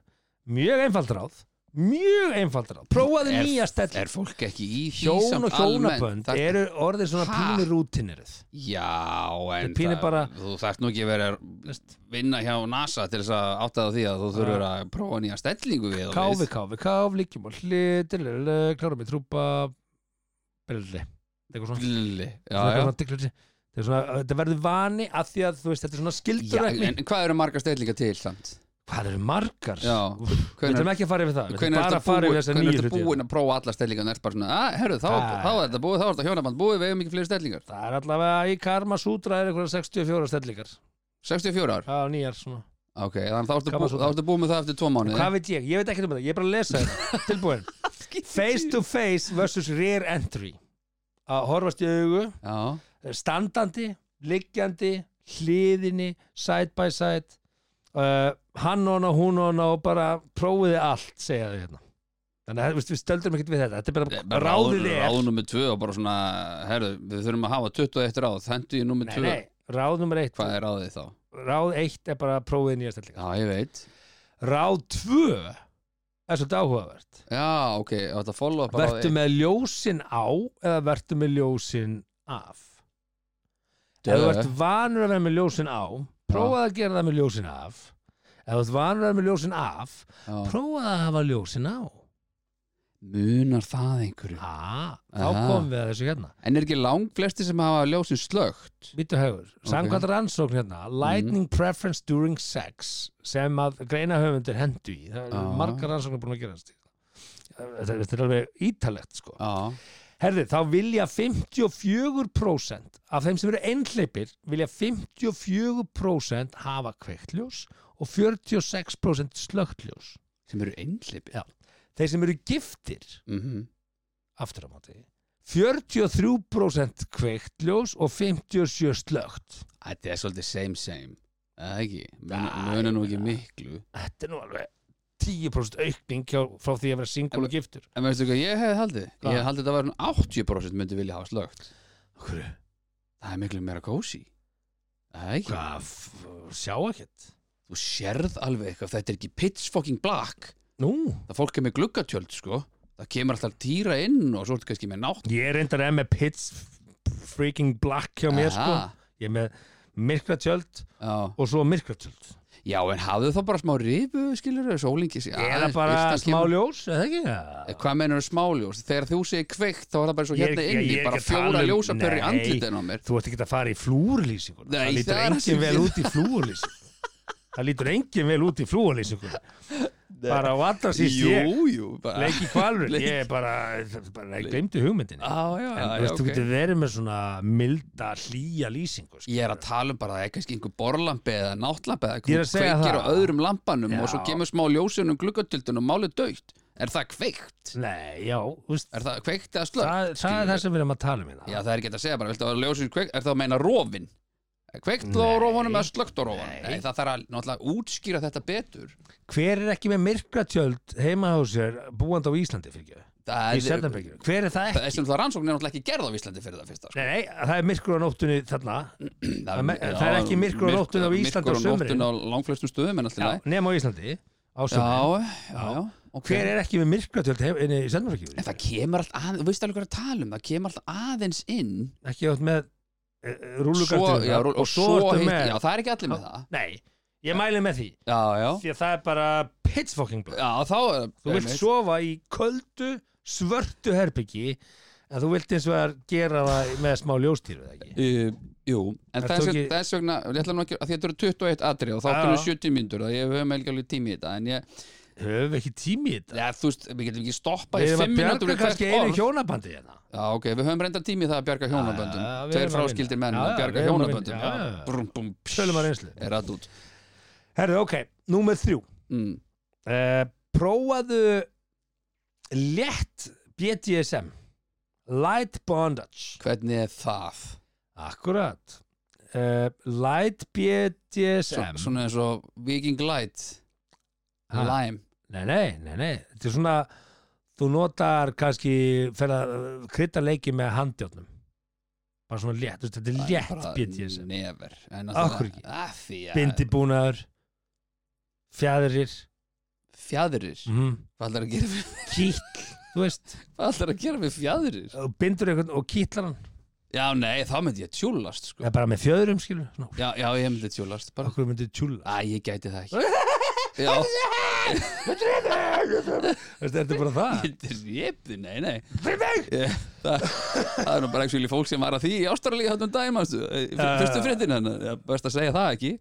mjög einfalt ráð mjög einfalt ráð, prófaðu Er- nýja stellingu Er fólk ekki í því hjón samt og hjónabönd almennt? eru orðið svona Ha? pínu rútinerið Já, en Þetta pínu bara- þú þarft nú ekki að vera að vinna hjá NASA til þess að áttaða því að þú þurfur að prófa nýja stellingu við og káfi, við. káfi, káfi, líkjum og hlið klára með trúpa brilli eitthvað svona Lilli, já, Þetta er já. svona digluti. Þetta er svona- þetta verður vani að því að þú veist þetta er svona já skildurækni En hvað eru margar stellingar til samt? hvað eru margar Já, Úff, við ætlum ekki að fara yfir það við ætlum Hvernig bara er að fara yfir þessar þetta búin, nýju er hluti búin að prófa alla stellingar nært bara svona, að, herru, þá, Ah. þá er þetta búið, þá er þetta hjónaband búið, við eigum ekki fleiri stellingar það er allavega í Karma Sutra er eitthvað 64 stellingar 64 ár, á nýjar svona ok, þannig þá ertu Gaman búið, svo. þá ertu búið með það eftir tvo mánuði Hvað veit ég? Ég veit ekkert um þetta, ég er bara að lesa þetta Tilbúin Face to face versus rear entry Að horfast í augu Já, Standandi, liggjandi, hliðinni Side by side Eh, uh, Hann hona, hún hona og bara prófiði allt segja þau hérna Þannig að þú veist, við stöldrum ekkert við þetta Þetta er bara Ráð- ráðið er Ráð nummið tvö og bara svona Herðu, við þurfum að hafa 21 ráð Þendu í nummið Nei, tvö nei, ráð nummer eitt Hvað er ráðið þá? Ráð eitt er bara prófið nýja stellinga Já, ég veit Ráð tvö er svolítið áhugavert Já, ok, þetta follow up á ráð Vertu eitt. með ljósin á eða vertu með ljósin af Ef þú Dö. ert vanur að vera með ljósin á prófaðu að gera það með ljósin af Ef þú ert vanur að vera með ljósin af Já. prófaðu að hafa ljósin á Munar það einhverju? ah, Þá Aha. komum við að þessu hérna En er ekki lang flesti sem hafa ljósin slögt? Býtu haugur, samkvæmt rannsókn hérna Mhm. Lightning preference during sex sem að greina höfundir hendu í það eru Já. margar rannsóknir búin að gerast þetta, þetta er alveg ítalegt sko Já, Herði, þá vilja 54% af þeim sem eru einhleipir vilja 54% hafa kveiktljós og 46% slögtljós sem eru einhleipi Já. þeir sem eru giftir mm aftur á móti 43% kveiktljós og 57 slögt Þetta er svolítið same same Eða ekki, Já, munar nú ekki miklu þetta er nú alveg 10% aukning hjá, frá því að vera singul og giftur En veistu hvað ég hefði haldið? Hvað? Ég hefði haldið að það var 80% myndi vilja hafa slögt Hverju? Það er miklu meira kósi Það er ekki, Hvað, f- sjá ekkert? þú sérð alveg eitthvað Þetta er ekki pitch fucking black Nú, Það fólk er með gluggatjöld sko Það kemur alltaf týra inn og svo ertu kannski með nátt ég er reyndar enn með pits freaking black hjá mér sko Aha. ég er með myrkra tjöld Já. og svo myrkra tjöld Já, en hafðu þá bara smá rifu skilur þau sólingi sig eða aðeins, bara birtan smá kemur- ljós, eða ekki? Ja. Eh, Hvað meinar smáljós? Þegar þú segir kveikt þá er það bara svo Ég er hérna ekki- ég inni er bara ekki að tala fjóra um- ljósapörri í Nei. andlitin á mér Þú ert ekki að fara í flúurlýsingur Nei, það lítur það er það engin sem vel ég- út í flúurlýsingur það lítur engin vel út í flúurlýsingur bara á allra síst ég Jú, jú bara- leiki kvalur, Leik- ég er bara, bara ég glemdi hugmyndinni Á, já, En já, þú veist, þú ok. getur verið með svona milda, hlýja lýsingu sko. Ég er að tala um bara að það er kannski einhver borlampi eða náttlampi eða Ég er að segja kveikir það. á öðrum lampanum Já. og svo kemur smá ljósunum gluggatildun og málið dögt Er það kveikt? Nei, já, þú veist, Er það kveikt eða slögt? það, það skilur er það við? sem við erum að tala um hérna. Já, það er ekki hægt að segja bara, viltu að ljósið kveikt? Er það að meina rófin? Kveikt þá á Nei. rófunum eða slögt á rófunum? Nei. Nei, það þarf að náttúrulega útskýra þetta betur Hver er ekki með myrkratjöld heima á sér búandi á Íslandi fyrir ekki? Það Í Seldanberginu. Hver er það Það ekki? er sem það rannsókn er náttúrulega ekki gerð á Íslandi fyrir það fyrsta sko. Nei, nei, það er myrkur á nóttunni þarna það me- já, það er ekki myrkur á myrk- nóttunni á Íslandi á Myrkur á sumrin. nóttun á langflestum stöðum en alltaf já, nema á Íslandi á sumrin. já, já, já ok. Hver er ekki með myrkratjöld heima inni í En Seldanberginu? það kemur alltaf aðeins, þú veist alveg hvað er að tala um, það kemur alltaf aðeins inn Ekki átt með e, svo, rúlugardjöld já, og, og svo ertu hitt, með já, það er ekki allir með það Nei, ég mæli með því Já, já, því að það er bara pitchfucking blöð já, þá er Þú vilt einmitt. sofa í köldu, svörtu herbyggi en þú vilt eins og að gera það með smá ljóstýru eða ekki? Uh, Jú, en Ert þess, þú ekki- þess vegna ég ætla nú ekki, að því þetta eru 21 atri og þá Já, erum já. 70 myndur og ég höfum ekki alveg tími í þetta en ég, Höfum við ekki tími í þetta? ja, þú veist, við getum ekki stoppað í Við erum 5 að minútur bjarga kannski einu hjónabandi hérna. Já, ok, við höfum reynda tími í það að bjarga hjónaböndum Já, já, við Tveir erum að fráskildir vinna. menn Já, að já, bjarga við erum að hjónaböndum vinna. Já, Já, já. brum, bum, pss, Tölum að reynslu. Er að út Herðu, ok, númer þrjú. mm. Uh, prófaðu létt BDSM. Light bondage. Hvernig er það? Akkurat. Uh, light Svo, BDSM. svona eins og Viking Light Ha? Lime Nei, nei, nei, nei. Þetta er svona, þú notar kannski fyrir að uh, krydda leiki með handjárnum. Bara svona létt, þú veist, þetta er létt Bara BDSM. Never En Ah, Af að það- hverju ekki? Af því að Bindibúnaður, fjæðurir, Fjadrir mm, Hvað ætlar að gera við kýll, þú veist, Hvað ætlar að gera við fjadrir? og bindur einhvern og kýtlar hann. Já, nei, þá myndi ég tjúlast sko. Eða bara með fjöðurum, skilur. Ná, Já, já, ég myndi tjúlast bara. okkur myndið tjúla. Æ, ég gæti það ekki Já, Þetta er bara það. ég drepði, nei, nei Fyrir mig! Ég- Það það er nú bara ekki fólk sem var að því í Ástralíu um hátum dæma, Já, fyrstu já. fréttin hann best að segja það ekki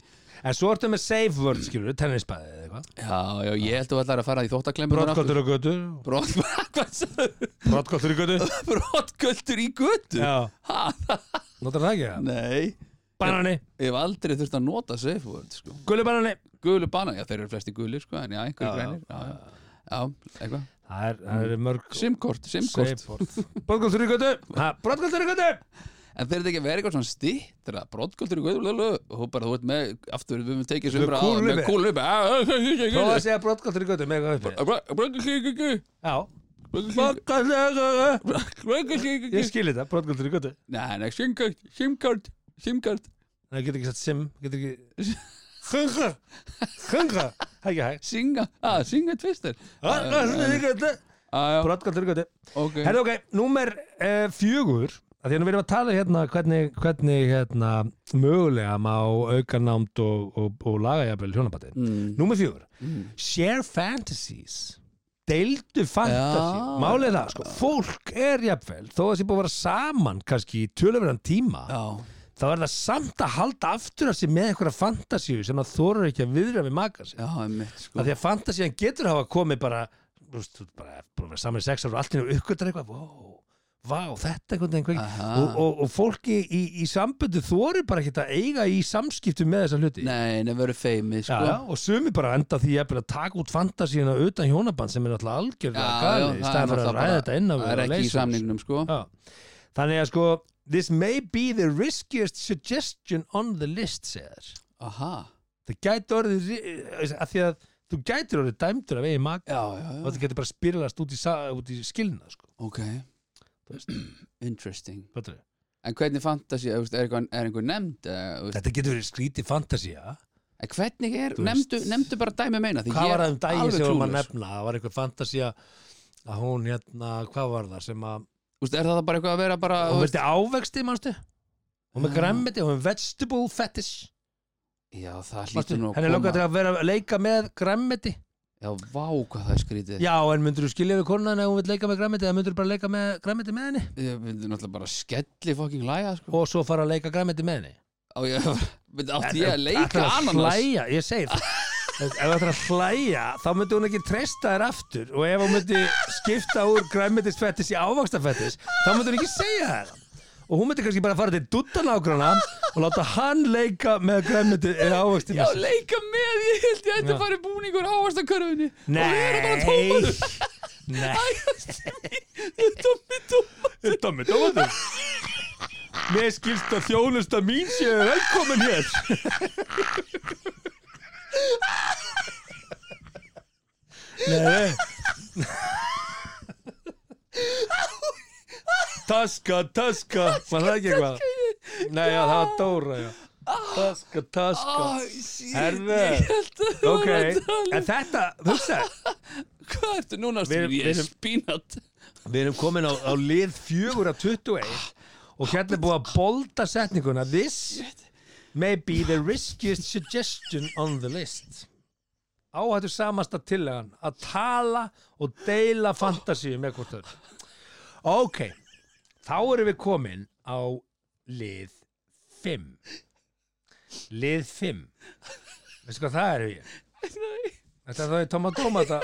En svo ertu með safe word, skilur, tennisbæði eða eitthvað. Já, já, ég held að þú ætlar að fara í þóttaklemmur Brottgöldur og götu. Brot, hvað sagði Brottgöldur og götu. Brotköldur í götu? Já, Ha, notar það ekki það? nei Banani, Ég hef aldrei þurft að nota safe word sko. gullu banani. Gulu bana, já þeir eru flesti gulir sko, En já, einhverju Já, grænir Já, já, já eitthvað Það er, það er mörg Simkort, simkort Brotkvöldurugötu Brotkvöldurugötu en þeir þetta ekki að vera eitthvað svona stittra brottkultur í guðlölu og bara þú veit með aftur við höfum tekið Með sem frá kúlupi. með Ah, kúlupi Prófa að segja brottgáttur í götu með eitthvað Ah, uppi. Já, brottgáttur Ég skil þetta, brottgáttur í götu Nei, nei, simkart, simkart, simkart Nei, getur ekki satt sim, getur ekki Hunga, hunga Það er ekki hægt Singa, að, singa Ah, tvistir Ah, Brottgáttur í götu Aja, Brottgáttur í götu Ah, ok Herra ok, númer uh, fjögur að því að nú við erum að tala hérna hvernig, hvernig hérna, mögulega má aukanámt og, og, og lagajafel hjónabandi. Mm. Númer fjögur Mm. Share fantasies Deildu fantasi Já. Málið er það, sko, fólk er jafnvel þó að sé búið að vera saman kannski í tölumverðan tíma Já, þá er það samt að halda aftur að sér með einhverja fantasíu sem það þorur ekki að viðra við maka sér já, einmitt, sko að því að fantasían getur hafa komið bara, þú veist, þú ert bara, bara að vera saman í sex ára og allt í náttúrulega uppgötar eitthvað, vó, vá, þetta einhvern veginn kveik Aha. og, og, og fólki í, í samböndu þorir bara ekki að eiga í samskiptum með þessa hluti. Nei, nei, verður feimið, Já, sko já, og sumi bara enda því jafnvel að taka út fantasíuna utan hjónaband sem er alltaf algjörlega gali í það er staðan fyrir að náttúrulega ræða bara- þetta innan Það er ekki í samningnum, sko Já. Þannig að sko, this may be the riskiest suggestion on the list, segir. Aha, Það gæti orðið, að því að þú gætir orðið dæmdur af eigin maka já, já, og já þetta getur bara spyrlast út í, sa- út í skilna sko. Ok Interesting Fattarðu? En hvernig fantasi, er eitthvað, er einhver nefnd eh, þú veist, þetta getur verið skrítið fantasía En hvernig er, Þú veist- nefndu, nefndu bara dæmi meina því hvað ég var er það um daginn alveg sem vorum að clueless. nefna það var eitthvað fantasía að hún hérna, hvað var það sem að Þú veist, er það bara eitthvað að vera bara þú hún veist veist- Ah. ávexti, manstu hún með Já. græmmiti, hún með vegetable fetish Já, það manstu? hlýtur nú henni lókaði til að vera að leika með græmmiti Já, vá, hvað það er skrítið já, en myndur þú skilja við konan ef hún vil leika með græmmiti eða myndur þú bara leika með græmmiti með henni Ég myndi náttúrulega bara skelli fokking læja sko. og svo fara að leika græmmiti með henni Á, ég myndi átti ég að Ætlar leika að ananas hlæja, ég segi það ef það ætlar að hlæja þá myndi hún ekki treysta þér aftur og ef hún myndi skipta úr græmitisfettis í ávaxtafettis þá myndi hún ekki segja þér og hún myndi kannski bara fara til duttanágrana og láta hann leika með græmiti eða ávaxti Já, leika með, ég held ég ætti Já. að fara í búningur ávastakörfunni Og við erum bara Nei Nei tómatur Tómi, tómi Þetta með dómatum Mér skilst að þjónusta mín séu velkomin hér Nei Taska, taska Var það ekki eitthvað? Nei, já, það var Dóra, já Taska, taska Ah. Æ, síðan, Herðu. Oh, Ok, ég held að það var að tala en um- þetta, hugsa Hvað ertu núna, Við- stúr, ég við er erum- spínat Við erum komin á, á lið 4 af 21 og hérna er búið að bolda setninguna This may be the riskiest suggestion on the list Áhættu samasta tillagan að tala og deila fantasíu með hvort þau Ok, þá erum við komin á lið 5 Lið 5 Veistu hvað það er við? Nei, Þetta er þá í tomatómata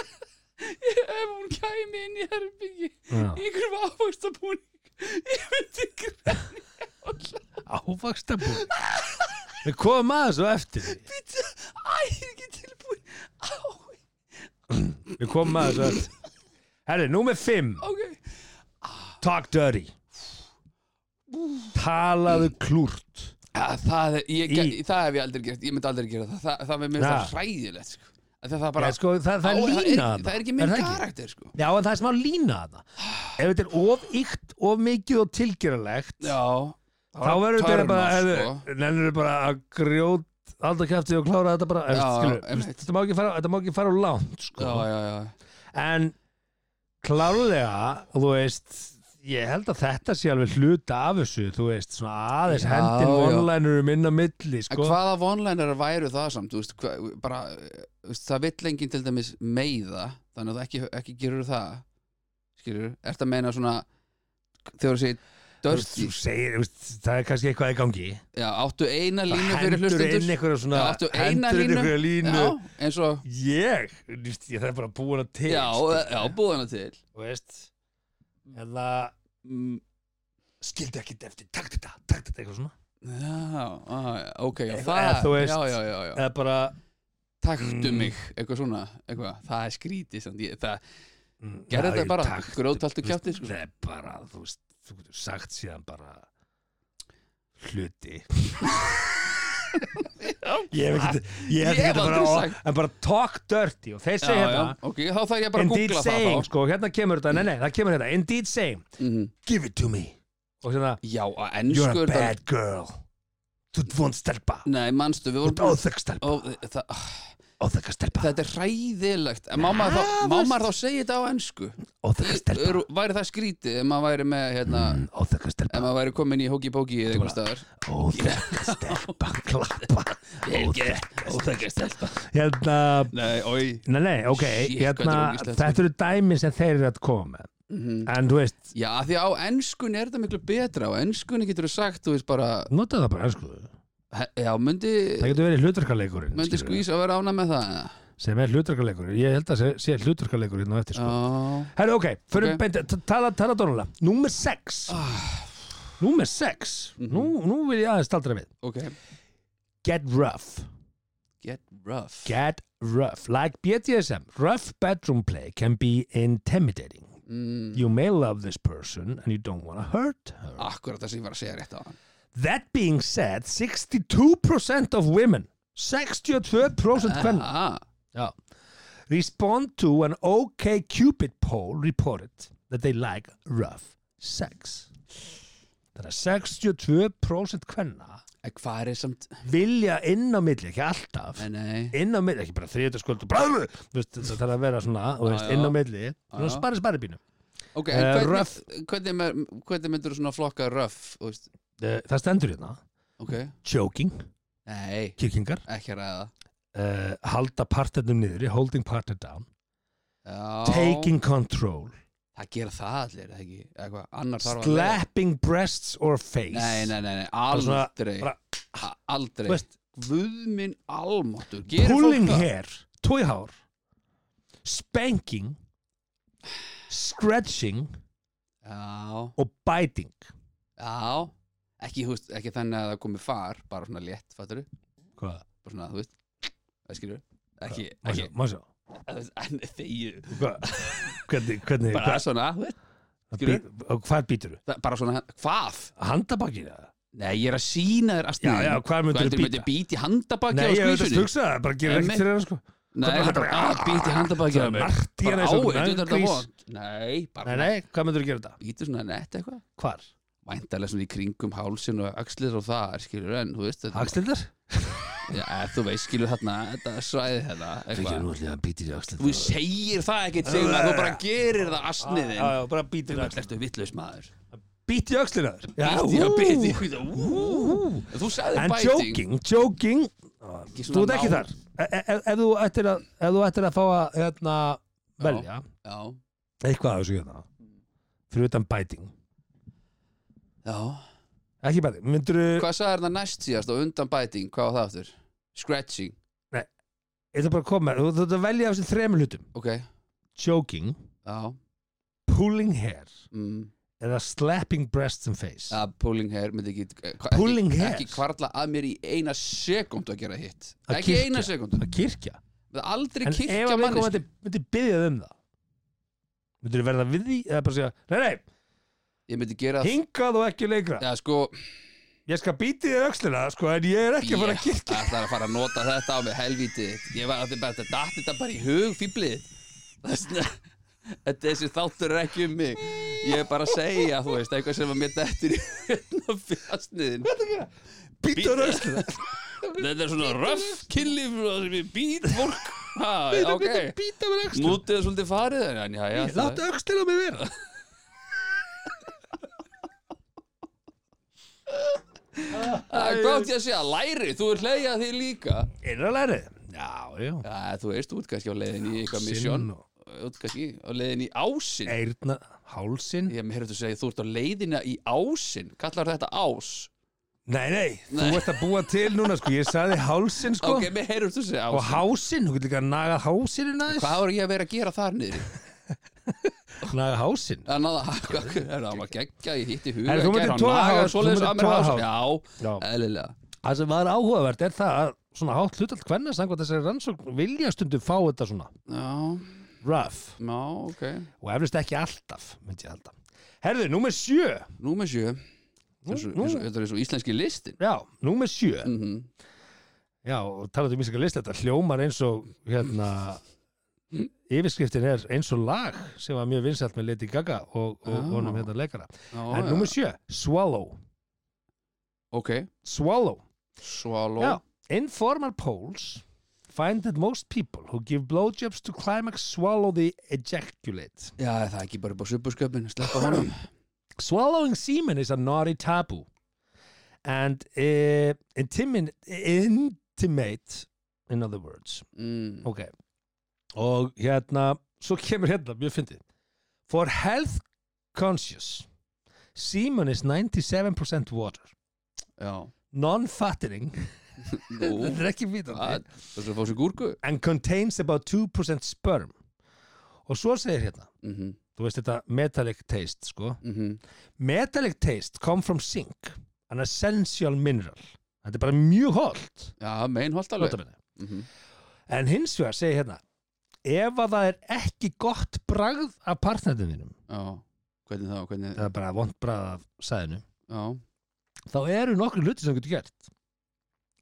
ef hún kæmi inn í herbyggi Já. Í einhverjum ávastabúning Ég myndi græni Ávaxtabúr Við komum aðeins og eftir því Æ, ég er ekki tilbúin Á, Við komum að þessu öll Herri, númer 5 ok Talk dirty Talaðu klúrt Ja, það, er- ég, Í- það hef ég aldrei gert, ég myndi aldrei gera það Það, það mér finnst Na. það hræðilegt sko. Af því að það, bara, Bara, sko, það, það Á, er lína það, er, það er ekki minn karakter sko. Já, en það er smá lína þarna Ef þetta er of ykt, of mikið og tilgeralegt Já Þá verður þetta törn á, bara sko. sko. Nennir bara að grjót Alltaf kæfti og klára þetta bara Já, Já, skilur, einmitt. þetta, má ekki fara, þetta má ekki fara úr langt sko. Já, já, já En klárlega, þú veist ég held að þetta sé alveg hluta af þessu, þú veist, svona aðeins Já, hendin já. vonlænur um inn á milli, En sko hvaða vonlænar væru það samt þú veist, hva, bara, þú veist, Það vill enginn til dæmis meiða Þannig að þú ekki, ekki gerur það Skilur, ert að meina svona Þegar þú segir Þú veist, Dörsti, þú segir, þú veist, það er kannski eitthvað í gangi já, áttu eina línu Það fyrir hendur inn hlustendur einhverja svona Já, áttu eina hendur inn línu. einhverja línu Já, eins og ég, þú veist, ég það er bara búin að til Já, sko, eh, já, búðana til þú veist eða Mm, skildi ekki eftir, takt þetta, takt þetta eitthvað svona Já, á, já, ok, já, Eitthvað, það eða þú veist- Já, já, já, já eða bara, Taktu Mm. mig, eitthvað svona, eitthvað Það er skrítið, samt ég, það mm, já, Gerðu þetta jú, bara, takt, grjóthaltu þú veist, kjafti, sko. það er bara, þú veist, þú getur sagt síðan bara hluti Ég hef ekkert Ég hef Ég hef ekkert bara, aldrei á- sagt. en bara talk dirty og þeir já, segja já, hérna ok, þá þarf ég bara að Indeed googla það saying, þá sko, hérna kemur þetta, nei, nei, það kemur hérna Indeed saying, Mhm. give it to me og svona, Já, you're að ennsku a er það bad girl þú vont stelpa Nei, manstu, við þú ert vorum óþögg stelpa, Ó, það, óþögg stelpa Þetta er hræðilegt En má maður þá, má maður þá segja þetta á ennsku óþögg stelpa, Eru- Væri það skrítið ef maður væri með hérna, Mm. óþögg ef stelpa maður væri komin í hóki bóki eða einhvern staðar óþögg stelpa, klappa Óþekka stelpa hérna, Nei, oi nei, nei, ok Shit, hvað hérna, þetta er ógeðslegt. þetta eru dæmi sem þeir eru að koma með en þú veist, Mhm. Já, af því að á ennskunni er þetta miklu betra Á ennskunni getur þú sagt, þú veist bara nota það bara sko. he- Já, myndi, það getur verið hlutarkaleikurinn myndi skilurðu, skvís að vera ána með það eða? sem er hlutarkaleikurinn, ég held að sé- sé hlutarkaleikurinn hérna á eftir, sko Já, Herru, ok, förum Ok. Ah. beint, t- tala, tala dónulega Númer 6 Númer 6 Mhm. nú, nú vil ég aðeins staldra við ok Get rough Get rough Get rough Like BDSM, rough bedroom play can be intimidating mm, You may love this person and you don't want to hurt her Akkurat það sem ég var að segja rétt á hann That being said, 62% of women 62% kvenna ah, Já. Respond to an OK Cupid poll reported that they like rough sex. Þannig að 62% kvenna En hvað er samt vilja inn á milli, ekki alltaf, Nei, nei inn á milli, ekki bara þriðutaskvöld og bræðu, þú veist, það þarf að vera svona, þú veist, já. inn á milli, svona já. spari spari bínu. Ok, en Eh, hvernig, rough. hvernig, me- hvernig myndur þú svona flokka rough þú veist? Það stendur hérna, Ok joking, Nei, kirkingar, ekki að ræða uh, halda partnernum niðri, holding partner down, Já taking control, Það gera það allir, eða ekki Eða hvað, annar þarf að leiða. slapping breasts or face. Nei, nei, nei, nei, Bara svona- aldrei bara- A- Aldrei Þú veist, Guðminn almáttur Gerir pulling fólk það? hair, tóihár spanking stretching Já, og biting já Ekki, þú veist, ekki þannig að það komi far Bara svona létt, fattur hvað? Bara svona, þú veist Það skilur Ekki, Má ekki sjá, má sjá þú veist, En þegju Hvað- hvernig, hvernig Bara svona, þú veist hvað, skilur. bít- og hvað býtur þú? það- Bara svona, hvað? handabakið það? Nei, ég er að sína þér að já, já, hvað myndur þú Myndir býta? bít í handabaki nei, á ég hef þetta skvísunni hugsa það, bara gerir Emmi. ekkert fyrir það sko Nei, Hvað- þetta er bara að bít í handabaki á Það er mér margt Ah, í hana í Bara á, þessu, þetta er grís. vond Nei, nei, bara nei, hvað myndur þú gera þetta? bítur svona nett eitthvað hvar? væntalega svona í kringum hálsin og axlir og það er skilur en þú veist þetta, axlindar? ja, þú veist skilur þarna þetta svæði þetta eitthvað allir að býta í axlindar þú segir það ekkert segir maður þú bara gerir það asniðin já, já, bara býtur í þú axlindar ertu vittlaus maður býti í axlindar Bíti, já, bíti, bíti, ú. þú sagði En bæting joking, joking Þú ert ekki þar E- e- Ef ef þú ættir að, ef þú ættir að fá að hérna, velja já, eitthvað af þessu hérna fyrir utan bæting já. Ekki bæting, myndur þú hvað sagði það næst síðast og undan bæting hvað var það aftur scratching Þetta bara að koma, þú þú ert að velja af þessum þremur hlutum ok Joking, já pulling hair mm. eða slapping breasts and face að pulling hair myndi ekki eh, hva- Pulling ekki, hair? ekki kvarla að mér í eina sekund að gera hitt Að ekki kirkja. eina sekund að kirkja aldrei En ef kirkja að við mannesku myndi, myndi byggja um það myndur þú verða við því eða bara segja, nei nei, ég myndi gera hingað og ekki leikra Já, sko, Ég skal býti þér öxlina, sko, en ég er ekki að fara að kirkja Það er að fara að nota þetta á mig helvíti Ég var alltaf bara, þetta datt þetta bara í hug fýblið Þetta þessi þáttur er ekki um mig Ég er bara að segja, þú veist, eitthvað sem að mér dettur í hérna fjastniðin Býta þér öxlina Þetta er svona röff kynlíf og sem ég být fólk ha, Býta, ok, býta, býta mér öxlina nútið er svolítið farið en já, já, það- Láttu öxlina mig vera Það er gott ég að segja, læri, þú er hleyja því líka Innralærið Já, já Já, þú veist, þú ert kannski á leiðin í eitthvað Hálsinn misjón og- Þú ert kannski á leiðin í ásin Eirna, hálsin Ég mér hefði að segja, þú ert á leiðina í ásin Kallar þetta ás? Nei, nei, Nei. þú ert að búa til núna, sko Ég sagði hálsin, sko Ok, mér hefði að segja Og ás hásin, þú getur líka að naga hásinin aðeins Hvað voru ég að vera að gera þar niður? Naga hásinn Þannig að hvað- það var maður geggja, ég hitti huga En þú myndir toga hár- þú svoleiðis myndir að mér toga hás hár. Já, Já. eðlilega Það sem var áhugavert er það að svona hátt hlutalt hvenna samkvæmt þessari rannsókn vilja stundum fá þetta svona Já, rough já, ok og eflust ekki alltaf, myndi ég halda Herðu, númer sjö Númer sjö Þetta er nú. svo- þetta er svo íslenski listin Já, númer sjö mm Já, og talandi um íslenska list, þetta hljómar eins og hérna yfirskriftin er eins og lag sem var mjög vinsælt með Lady Gaga og, og Já. honum hérna leikara Já, En já. númer sjö, Swallow Ok, Swallow, Swallow já Informal polls find that most people who give blowjobs to climax swallow the ejaculate Já, er það ekki bara upp á supusköpun Sleppa honum Swallowing semen is a naughty taboo and uh, intimin- intimate in other words mm. ok og hérna, svo kemur hérna mjög fyndið for health conscious semen is 97% water Já non-fattening Nú, þetta er ekki það vitandi það er svo að fá sér gúrku and contains about 2% sperm og svo segir hérna Mhm, þú veist þetta metallic taste sko mhm metallic taste come from zinc an essential mineral þetta er bara mjög holdt Já, meinholt alveg notabene. Mhm. en hins vegar segir hérna ef að það er ekki gott bragð af partnættinum Já, hvernig þá, hvernig það er bara vond bragð af sæðinu Já, þá eru nokkru hluti sem þú getur gert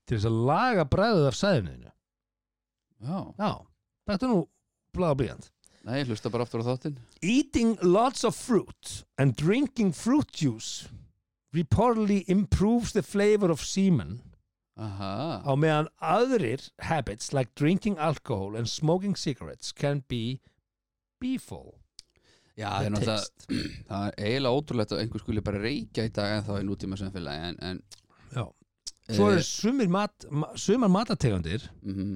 til þess að laga bragðið af sæðinu þínu. já já, þetta er nú blaða blíjant Nei, ég hlusta bara aftur á þáttinn Eating lots of fruit and drinking fruit juice reportedly improves the flavor of semen Aha, á meðan aðrir habits like drinking alcohol and smoking cigarettes can be beeful já, það er the náttúrulega taste. Það er eiginlega ótrúlegt að einhver skuli bara reykja í dag en þá er nútíma samfélagi en, en Já. Svo eh, eru sumir mat, ma- sumar matategundir mhm.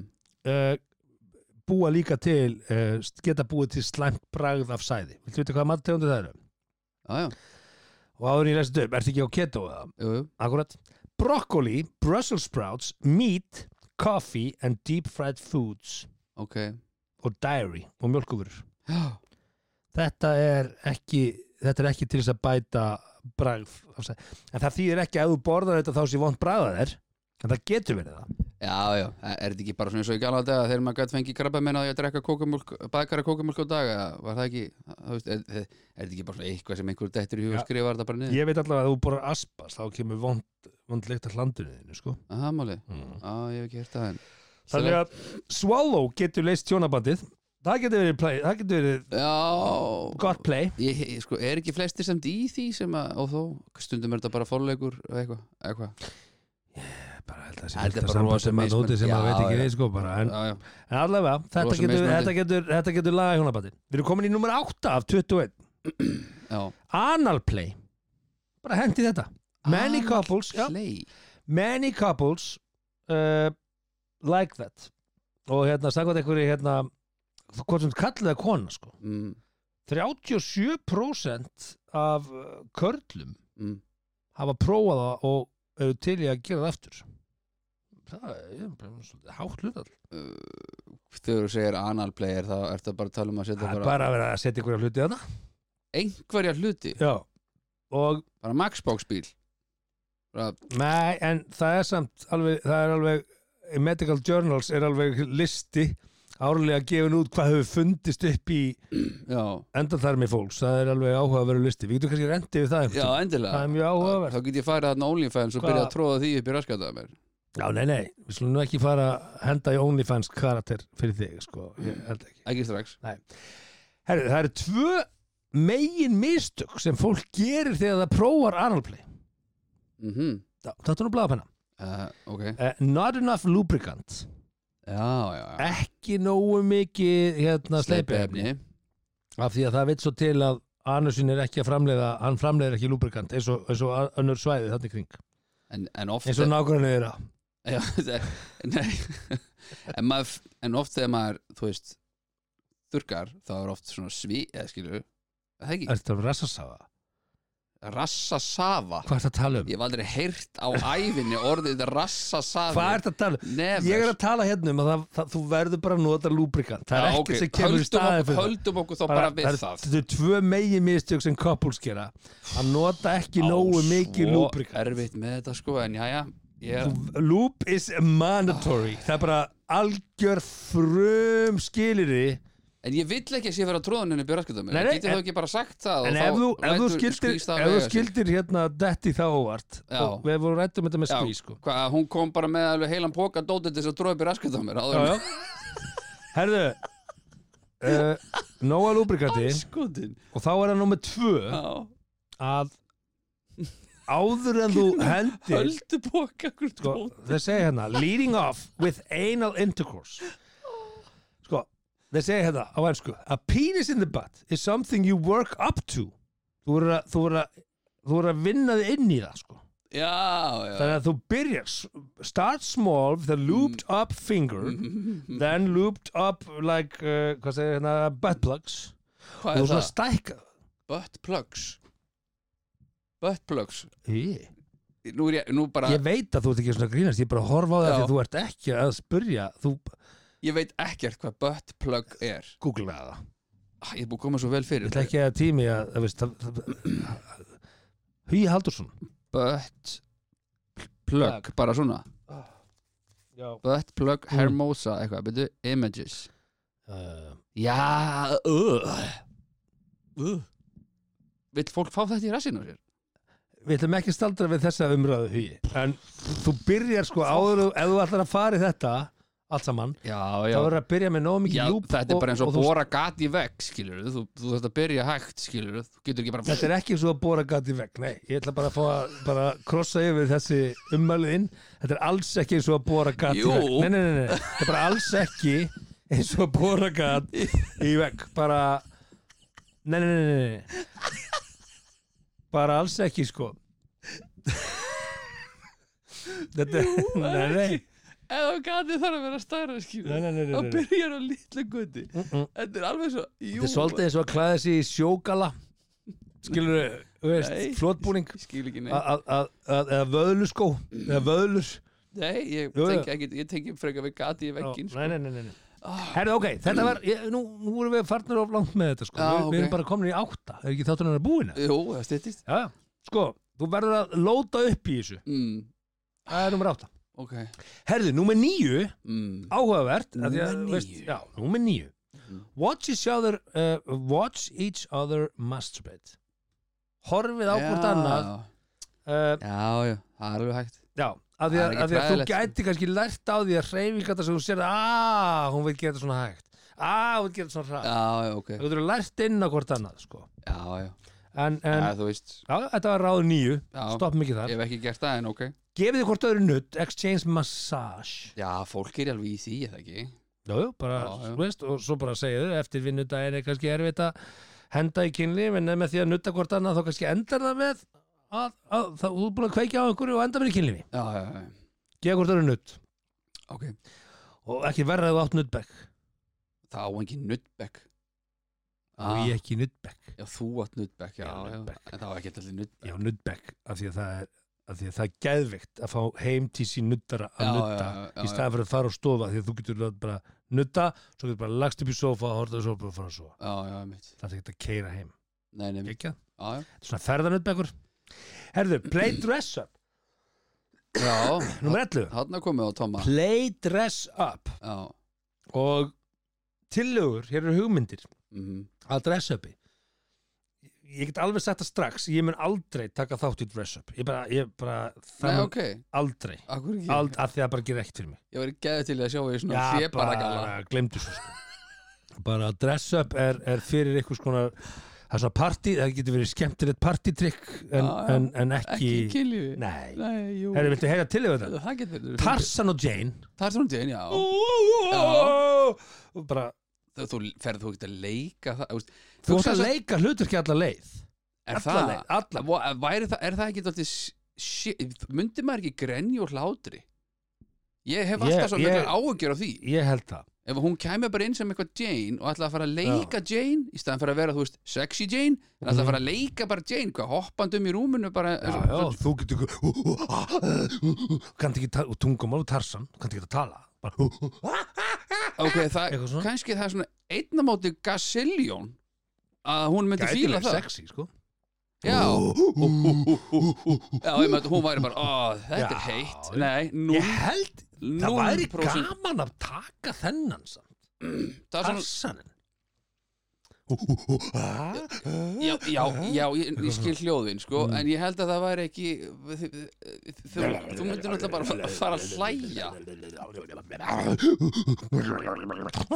uh, búa líka til uh, geta búið til slæmt bragð af sæði Viltu vita hvaða matategundir það eru? Já, já, Og áður en ég lesið upp, ertu ekki á keto eða? jú, jú Akkurat. Broccoli, Brussels sprouts, meat, coffee and deep fried foods Ok og dairy og mjölkufurur. Já, Þetta er ekki þetta er ekki til þess að bæta bragð. af sæ- En það þýðir ekki að þú borðar þetta þá sé vond bragða þér. En það getur verið það. já, já. Er- er þetta ekki bara svona eins og í gala dag þegar maður gætt fengið krabba meina að ég að drekka kókamjólk, bakara kókamjólk á dag eða var það ekki, þú veist, er, er þetta ekki bara svona eitthvað sem einhver dettur í hug Já. og skrifar þetta bara niður? Ég veit allavega að þú borðar aspas þá kemur vond, vond leikt að hlandinu þínu, sko. Aha, máli, já, ég hef ekki hert það en Þannig að swallow getur leist tjónabandið. Það getur verið, play, það getur verið Já gott play. Ég, ég- sko, er ekki flestir samt í því sem að, og þó, stundum er þetta bara forleikur og eitthvað, eitthvað, Bara held að það sé Þetta er fullt af bara samböndum rosa þarna úti sem að mismunandi. veit ekki Já, já. neitt, sko, bara. En, já, já, En allavega, þetta Rosa getur, mismunandi. þetta getur, þetta getur laga hjónabattin. Við erum komin í nummer 8 af 21. já Analplay. Bara hendi þetta. Many Anal couples, já, Play. many couples uh, like that. Og hérna, sagði einhverju, hérna, hvort sem kallið að kona, sko. Mm, 37% af uh, körlum mm. hafa prófað það og eru til í að gera það aftur. Það er bara svolítið hátt hlutall. Þegar þú segir anal player þá ertu bara að tala um að setja Það er bara, bara að vera að setja einhverja hluti að það. einhverja hluti, Já. Og bara Maxbox bíl bara, Nei, en það er samt alveg, það er alveg Medical Journals er alveg listi árlega gefin út hvað hefur fundist upp í já, endarþarmi fólks, það er alveg áhugaveru listi við getum kannski rendið við það já, einhvern tímann. endilega Það er mjög áhugavert. Þá get ég farið þarna OnlyFans og Hvað- byrja að tróða því upp í raskataða mér Já, nei, nei, við slum nú ekki fara að henda í OnlyFans karakter fyrir þig, sko ég held ekki. Ekki strax Herru, það eru tvö megin mistök sem fólk gerir þegar það prófar analplay mm Já, Þetta er nú blaðapenna uh, Ok, uh, Not enough lubricant já, já, já ekki nógu mikið hérna, sleipiefni af því að það veit svo til að anusin er ekki að framleiða, hann framleiðir ekki lúbrikant eins og, eins og önnur svæði þannig kring En, en oft eins og nákvæmlega þeirra Já, það- nei en, maður, en oft þegar maður, þú veist þurkar, þá er oft svona svi eða skilur, það ekki Ertu að rassasafa? rassasafa Hvað ertu að tala um? ég hef aldrei heyrt á ævinni orðið rassasafi Hvað ertu að tala um? Never. Ég er að tala hérna um að það, það, þú verður bara að nota lúbrikant það er Já, ekkert ok. sem kemur í Höldum staðið ok- fyrir það. höldum okkur þá bara, við það er- það Þetta er tvö megin mistök sem couples gera að nota ekki nógu mikið lúbrikant erfitt með þetta sko, en jæja ég, Þú- Loop is mandatory Það er bara algjör frum skiliri En ég vill ekki að sé vera tróðaninn í björnskjöldum Nei, Ég nei, geti en- þá ekki bara sagt það En ef þú, ef þú skildir, ef þú skildir hérna detti þá óvart Já. og við vorum rættum þetta með skví sko Hva, hún kom bara með alveg heilan póka dótið til þess að tróða björnskjöldum mér áður Já, en- já Herðu uh, Nóa lúbrikandi Skotin og þá er það nummer tvö Já, að áður en þú hendir höldu póka okkur sko, dót þeir segja hérna leading off with anal intercourse sko, þeir segja hérna á ennsku, a penis in the butt is something you work up to þú verður að, þú verður að þú verður að vinna þig inn í það sko Já, já þannig að þú byrjar s- start small with a looped Mm. up finger then looped up like, uh, hvað segir hérna butt plugs og Hvað þú er svona það? stækka Butt plugs Butt plugs Í. Nú er ég, nú bara, ég veit að þú ert ekki svona að grínast ég er bara að horfa á það Já. því að þú ert ekki að spurja þú ég veit ekkert hvað butt plug er googla það ah, Ég er búið að koma svo vel fyrir Ég ætla ekki að tími að, að veist, það- það- Hugi Haldursson Butt plug, bara svona Já Butt plug Mm. Hermosa eitthvað, byrju, images uh, Já, uh. Uh. Vill fólk fá þetta í rassinu á sér? Við ætlum ekki að staldra við þessa umræðu Hugi En þú byrjar sko áður og- Ef þú ætlar að fara í þetta Allt saman Já, Þá verður að byrja með nógu mikið Já, lúp þetta er bara eins og, og þú- bóra gat í vegg, skilur þú, þú þarft að byrja hægt, skilur þú getur ekki bara Þetta er ekki svo að bóra gati vegg Nei, ég ætla bara að fá að bara krossa yfir þessi ummælið inn Þetta er alls ekki eins og að bóra gati Jú. vegg Nei, nei, nei, nei Þetta er bara alls ekki eins og að bóra gati í vegg Bara Nei, nei, nei, nei, nei Bara alls ekki, sko Þetta er Nei, nei, Eða gati þarf að vera stærra, skilur nei, nei, nei, nei, nei. byrjar á litla gutti Mm-mm. Þetta er alveg svo Þetta er svolítið eins og að klæða sig í sjógala Skilur þú veist, Nei. flotbúning Ég skil ekki neitt að- að- að- eða vöðluskó eða vöðlur Nei, ég Jú, jú. tengi ekki, ég tengi frekar við gati í vegginn sko. Ah. Já, nei, nei, nei, nei. Herðu, ok, þetta var ég, nú, nú erum við farnir of langt með þetta sko. Já, við, við ok. erum bara komin í átta er ekki þáttur hann að búina Jú, það styttist já, já. sko, þú verður að lóta upp í þessu mm, það er nummer átta Ok Herðu, númer níu, mm. áhugavert af því að, Númer þú níu. já, númer níu Mhm. watch each other uh, watch each other masturbate horfið á hvort annað uh, Já, já, það er alveg hægt Já, af því að, Það er ekki að, því að þú fræðilegt, sko. gæti kannski lært á því að reyfingarna sem þú sér að hún veit gera þetta svona hægt að hún veit gera þetta svona hrægt Já, já, ok þú getur lært inn á hvort annað sko. Já, já, en, en já já, þú veist þetta var ráð nýju Já, stopp mikið ég þar hef ekki gert það en ok gefið þið hvort öðru nutt exchange massage Já, fólk er alveg í því, eða ekki já, já, bara, Já, já. þú Veist, og svo bara segið þau eftir vinnudaginn er kannski erfitt að henda í kynli en með því að nutta hvort annað þá kannski endar það með að, að, það, þú er búin að kveikja á einhverju og enda með í kynlífi Já, já, já, gefið hvort öðru nutt ok og ekki verða að þú átt nuttbekk Það á engin nuttbekk Ah. og ég ekki nuttbekk Já, þú átt nuttbekk, já, Ég á já nuddback. En það á ekki allir nutt Já, nuddback, af því að það er af því að það er geðvikt að fá heim til sín nuttara að Já, nutta já, já, já, í staðan fyrir að fara á stofa því að þú getur látið bara nutta, svo getur bara lagst upp í sofa og horfðað sofa og fara að sofa Já, já, mitt það er ekki að keira heim Nei, nei, mitt Gekja. Já, já, svona ferðanuttbekkur Herðu, play dress up, já nummer 11 Þarna komið á Toma play dress up Já, og tillögur, hér eru hugmyndir mhm að dress upi ég get alveg sagt það strax ég mun aldrei taka þátt í dress up ég bara, ég bara það Nei, mun ok, aldrei akkur ekki Ald, að því að það bara gerir ekkert fyrir mig Ég var geðið til að sjá því svona hlépara gala glemdu svo sko. bara að dress up er, er fyrir einhvers konar það er svona party, það getur verið skemmtilegt partytrykk en, Já, já. en, en ekki, Ekki kynlífi nei, Nei, jú herri, viltu heyra til yfir þetta? Það getur verið Tarsan og Jane Tarsan Jane, já og bara, þú, þú ferð þú ekkert að leika það veist, þú ætti að leika hluturki alla leið er alla það, leið, alla Vá, væri það, er það ekki alltaf myndi maður ekki grenja og hlátri ég hef Ég- alltaf svo mikla ég- áhugjur á því ég held það ef hún kæmi bara inn sem eitthvað Jane og ætlaði að fara að leika Jane í staðan fyrir að vera, þú veist, sexy Jane en ætlaði að fara að leika bara Jane, hvað hoppandi um í rúminu bara, Já, já, þú getur kannski ekki ta- og tungumál og Tarsan, kannski ekki að tala bara, ok, það Eitthvað svona. kannski það er svona einnamóti gasilljón að hún myndi gæti fíla verið það sexy, sko já, já, ég með hún væri bara, ó, þetta er Já, heitt já. nei, nú ég held, það væri 0% gaman að taka þennan samt það er svona, Tarsanin já, já, já, ég, ég skil hljóðin sko, Mm. en ég held að það væri ekki þi- þi- þú, þú myndir náttúrulega bara að fara að hlæja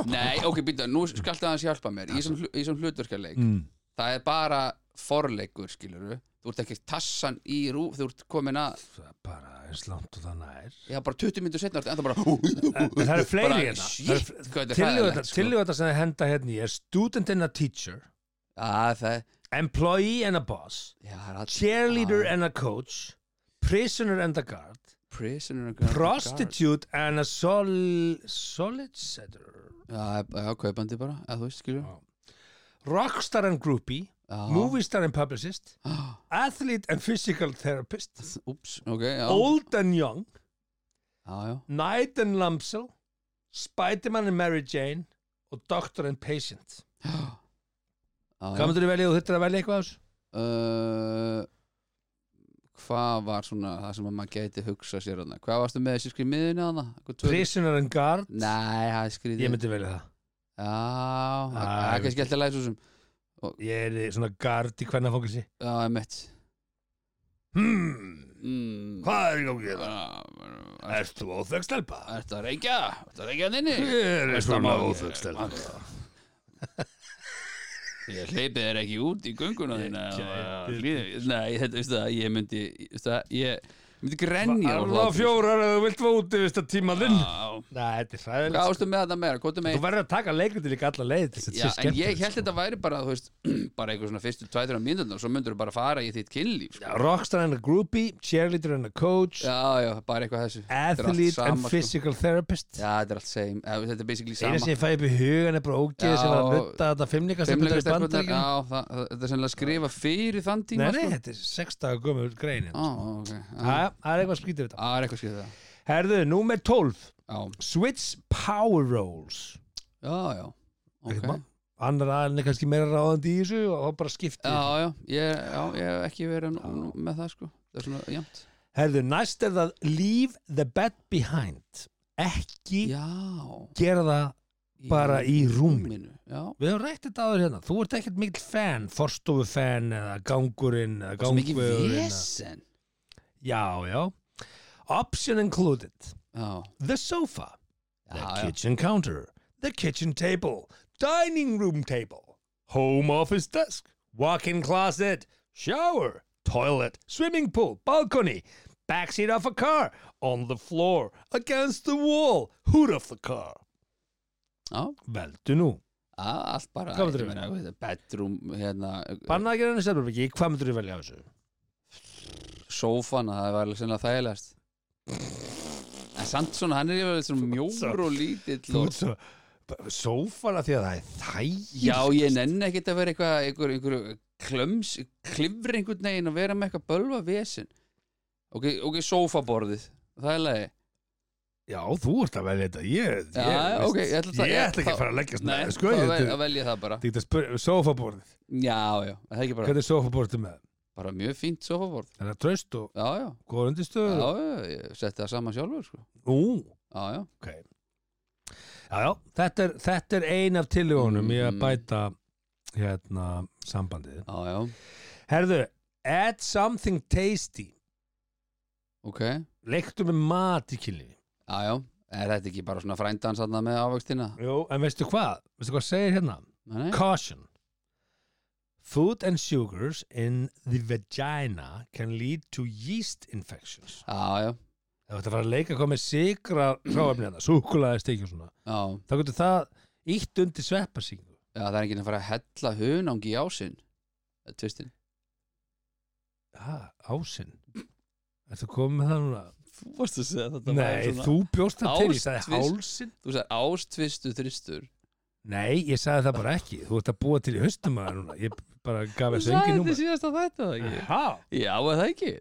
Nei, ok, býta, nú skaltu aðeins hjálpa mér í sem, í sem Mm. hlutverkjarleik það er bara forleikur, skilur þú ert ekki tassan í rú þú ert komin að, Það er bara eins langt og það nær já, bara 20 myndir setna en það bara, En það eru fleiri Bara, hérna shit, Það eru- hvað þetta er tillögurnar- hræðilegt, sko. Tillögurnar sem þið henda hérna í er student and a teacher að það employee and a boss já, það er alls Ah. cheerleader and a coach prisoner and a guard prisoner and prostitute and a sol solicitor já, já, kaupandi bara, að þú veist, skilur rockstar and groupie Já. movie star and publicist Ah, athlete and physical therapist Úps, ok, já old and young Já, já, Knight and Lamsel Spiderman and Mary Jane og Doctor and Patient já, Hvað já. myndir þú velja og þurftir að velja eitthvað ás? Uh, Hvað var svona það sem að maður gæti hugsa sér hana Hvað varstu með þessi skrið miðinni hana? Einhver tvö- Prisoner and Guard Nei, það er skrið Ég myndi velja það Já, það það ég er kannski alltaf læsum sem Ég er svona guard í hvernig fókilsi Já, ég mitt Hmm, mm, hvað er í gangi hérna? það? Hvað? Ert þú óþöggstelpa? Ertu að reykja? Ertu að reykja hann inni? Ég er Ertu að svona má- óþöggstelpa Ég hleypið þér ekki út í gönguna þína og- gæti- Hlýðir- Nei, þetta, veistu það, ég myndi veistu það, Ég myndi grenja úr Arða hlátri. fjórar eða þú vilt fá út yfir þetta tímaðinn Ah. Já. Nei, þetta er Hvað hræðilegt ástu með þetta meira? Hvað með Þú verður að taka leikriti líka alla leið til þess að Já, þetta sé en ég skemmtilegt, held sko. þetta væri bara, þú veist, bara einhver svona fyrstu tvætur af mínútur og svo myndur þú bara fara í þitt kynlíf sko. Já, Rockstar and a groupie, cheerleader and a coach Já, já, bara eitthvað þessu Þetta er allt athlete and sama, sko. physical therapist Já, þetta er allt same, Eða, þú veist, þetta er basically eina sem sama ég fæ upp í hugan er bara ógeð sem Já, var að nutta þetta fimmleikastelpunar í Fimleikastelpurnar, bandaríkjum Já, það- það- þetta er sennilega að skrifa fyrir þann nei, nei, tíma sko. þetta er sex daga gömur greinin Á, ok Já, það það er eitthvað skrítið við þetta það er eitthvað skrifað herðu, númer 12, Já, switch power roles já, já Ok Eitthvað? annar aðalinn er kannski meira ráðandi í þessu og þá bara skipti Já, já, ég, já, ég hef ekki verið nú- nú með það sko Það er svona jæmt herðu, næst er það leave the bed behind ekki Já gera það Bara í rúminu. Já, Við höfum rætt þetta áður hérna, þú ert ekkert mikill fan, forstofu fan eða gangurinn eða svo mikið gangvegurinn eða- vesen Já, já. Option included. Já, The sofa. The já, já kitchen counter. The kitchen table. Dining room table. Home office desk. Walk-in closet. Shower. Toilet. Swimming pool. Balcony. Backseat of a car. On the floor. Against the wall. Hood of the car. Já, Veldu nú. Já, allt bara Hvað myndirðu ég meina, velja? þetta er bedroom, hérna Bannað að gera henni stefnarbyggi, hvað myndur þú velja á þessu? sófan, það var alveg sennilega þægilegast en samt svona, hann er yfir svona mjór og lítill Þú og... ert svo, sófana því að það er þægir. já, ég nenni ekkert að vera eitthvað einhver, einhver klöms, klifri einhvern veginn og vera með eitthvað bölva vesen ok, ok, sófaborðið það er leiði Já, þú ert að velja þetta Ég, Já, ég, já, veist, ok, ég ætla það- ég ég- ætla ekki að þá- fara að leggjast Nei, með sko, sko, að, vel, Þetta að velja það bara þetta er að spyrja sofaborðið já, já, það er ekki bara, Hvernig er sofaborðið með? bara mjög fínt sófaborð Er það tröst og já, já, góður já, undirstöður? já, ég setti það saman sjálfur sko. Ú, já, já, ok Já, já, þetta er, þetta er ein af tillögunum í að Mm. bæta hérna sambandið já, já, Herðu, add something tasty ok já, Leiktu með mat í kynlífi já, er þetta ekki bara svona frændan sann með ávöxtina Jú, en veistu hvað? Veistu hvað segir hérna? Nei, nei. Caution. Food and sugars in the vagina can lead to yeast infections. já, já, Ef þetta fara að leika hvað með sigra hráefni hérna, súkulaði stekjum svona, já þá getur það ítt undir sveppasíku. Já, það er ekki að fara að hella hunangi í ásinn Það er tvistin Ha, ásinn. Ertu komið með það núna? Þú varst að segja þetta Nei, þú bjóst það til, ég sagði Ástvist. hálsinn. Þú sagði ástvistu þristur Nei, ég sagði það bara ekki. Þú ert að búa til í höstum að núna. Ég bara gaf þessu engin númer. Ah. síðast að þetta það Ha? Já, er það ekki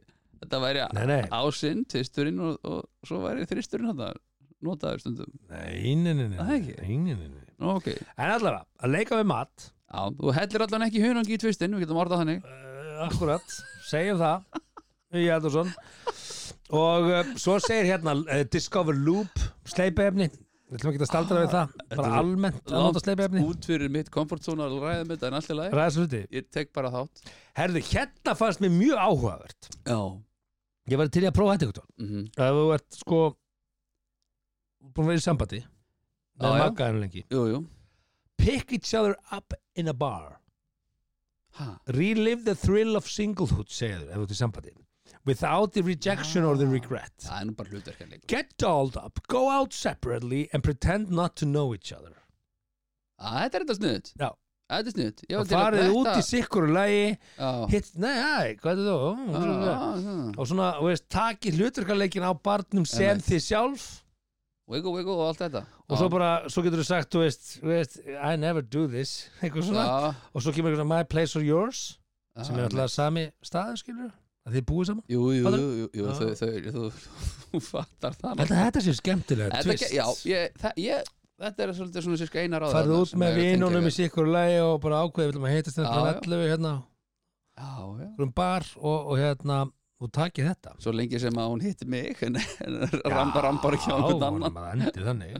Þetta væri Nei, nei, ásinn, tvisturinn og, og svo væri þristurinn hann það Notaður stundum nei, nei, nei, nei, Það ekki? nei, nei, nei, nei. Nú, ok En allavega, að leika við mat, Já, þú hellir allan ekki hunangi í tvistin Við getum orðað þannig Uh, akkurat, segjum það Hugi eh, Adolfsson og uh, svo segir hérna uh, Discover Loop sleipefni við ætlum ekki að staldra við það bara Ah, er- almennt að nota sleipefni út fyrir mitt komfortzóna að ræða með þetta en allir læg ræðsluti ég tek bara þátt herðu, hérna fannst mér mjög áhugavert já ég var til í að prófa þetta eitthvað mm ef þú ert sko búin að vera í sambandi Já, með já. maggaðinu lengi jú, jú pick each other up in a bar ha relive the thrill of singlehood segir þú, ef þú ert í sambandi without the rejection or the regret það er nú bara hlutverkan leikur get dolled up, go out separately and pretend not to know each other að þetta er þetta snuðt Já. þetta er snuðt og farið út í sikkur og lagi já Ah, hitt, nei, hæ, hvað er þú? Já, já, já. og svona, þú veist, takið hluturkarleikin á barnum sem Einmitt. þið sjálf wiggle wiggle og allt þetta og svo bara, svo getur þú sagt, þú veist, þú veist I never do this, eitthvað svona og svo kemur eitthvað my place or yours sem er alltaf sami staður, skilur að þið búið saman jú, jú, Fattar- jú, jú, jú Já. þau, þau, þú, þú fattar það Þetta, þetta séu skemmtilega, Þetta twist ge- já, ég, það, ég, þetta er svolítið svona sérska eina ráða farið þarna út sem með er að tengja vinunum í við- sikkur lagi og bara ákveðið, viljum að heitast Já, þetta já. allu hérna, Já, já um bar og, og hérna og takið þetta Svo lengi sem að hún hitti mig en, en rambar, rambar ekki á einhvern annan Já, vorum að endið þannig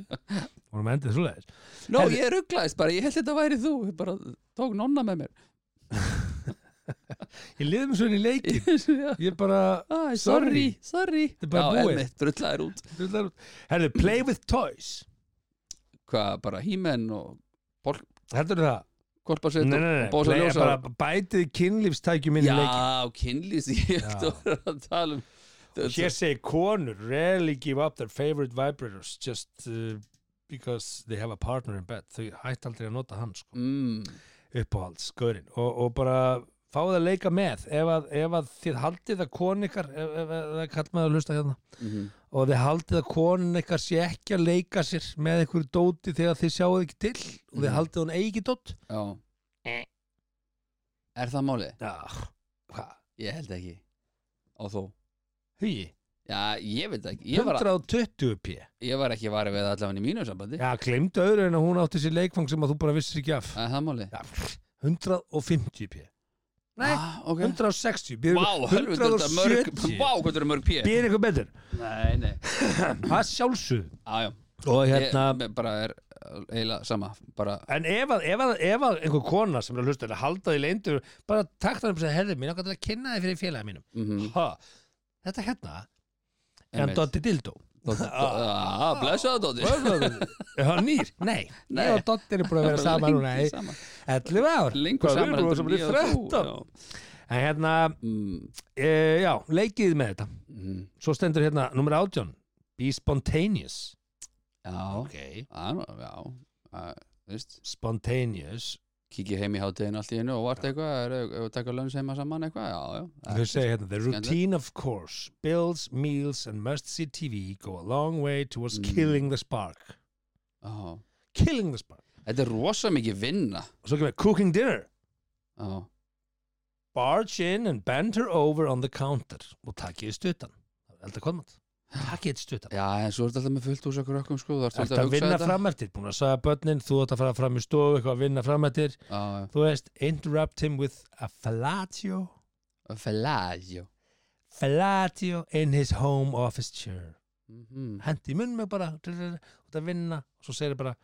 vorum að endið svoleiðis Nó, Herðu- ég rugglaðist bara, ég held þetta væri þú Ég bara tók nonna með mér Ég liði mig svo inn í leikin Já, Ég bara Æ, sorry, Sorry. sorry Þetta er bara Já, búið. emmitt, drullaðir út Herðu, play with toys Hvað, bara hímenn og Heldur það? Nei, korpasveit nei, og nei, bósa play, ljósa bara bætið kynlífstækjum inn í leikin Já, kynlýs, ég Já. ætti að vera að tala um Hér segir konur rarely give up their favorite vibrators just uh, because they have a partner in bed þau hætt aldrei að nota hann sko, mm, uppáhalds, skörinn og, og bara fáið að leika með ef að, ef að þið haldið að konu ykkar ef, ef, ef það kallt með að hlusta hérna mm, og þið haldið að konun ykkar sé ekki að leika sér með einhverju dóti þegar þið sjáuð ekki til og þið Mhm. haldið að hún eigi ekki dót Já Er það málið? Já, hvað? Ég held ekki Og þú? Hugi, Já, ég veit það ekki Ég var, 120 p ég var ekki varið við allavega í mínu sambandi Já, glemdu öðru en að hún átti sér leikfang sem að þú bara vissir ekki af Er það málið? Já, 150 p Nei, ah, ok 160 býður- Vá, helvita þetta er mörg 170. Vá, hvað þetta eru mörg pí Býður eitthvað betur Nei, nei Það er sjálfsög Já, já Og Ég hérna mér bara er eh, eiginlega sama Bara Eh, En ef að, ef að, ef að einhver kona sem er að hlusta þetta haldaði leindur, bara takt hann upp og segja, herði, mér ákvæmt að kynna þið fyrir félagi mínum. mhm, Ha, þetta hérna, en einmitt. Dotti Dildó. Dó- dó- Ah, blessaðu Dóti Er hann nýr? Nei, Nei. ég og Dotti er búin að vera saman núna í Lengi saman. 11 ár. Lengur Hvað, Við saman erum heldur en búin ég að og vera þú, 13. já. En hérna, Mm, e, já, leikið með þetta. mhm, Svo stendur hérna, nummer 18, Be Spontaneous. Já Ok. Já, nú- já, að, þú veist Spontaneous. kíkir heim í hátíðin allt í einu og vart eitthvað er- ef við taka lönns heima saman eitthvað, já, já Þau segja hérna, the skemmtilegt. routine of course, bills, meals and must-see TV go a long way towards Mm. killing the spark. Já. Killing the spark. Þetta er rosa mikið vinna Og svo kemur cooking dinner. já. Barge in and banter over on the counter. Og takk ég stuttan. Elda kvöldmatt. Takk ég stuttan. já, en svo er þetta alltaf með fullt úr okkur ökkum sko, þú Þú ert ert að alltaf að hugsa vinna þetta fram eftir, búin að sagja börnin, þú ert að fara fram í stofu, eitthvað að vinna fram eftir. já, Þú veist, interrupt him with a fellatio, já. Felagio fellatio in his home office chair. Mhm. hendi í munn með bara drr, drr, drr, út að vinna og svo segir bara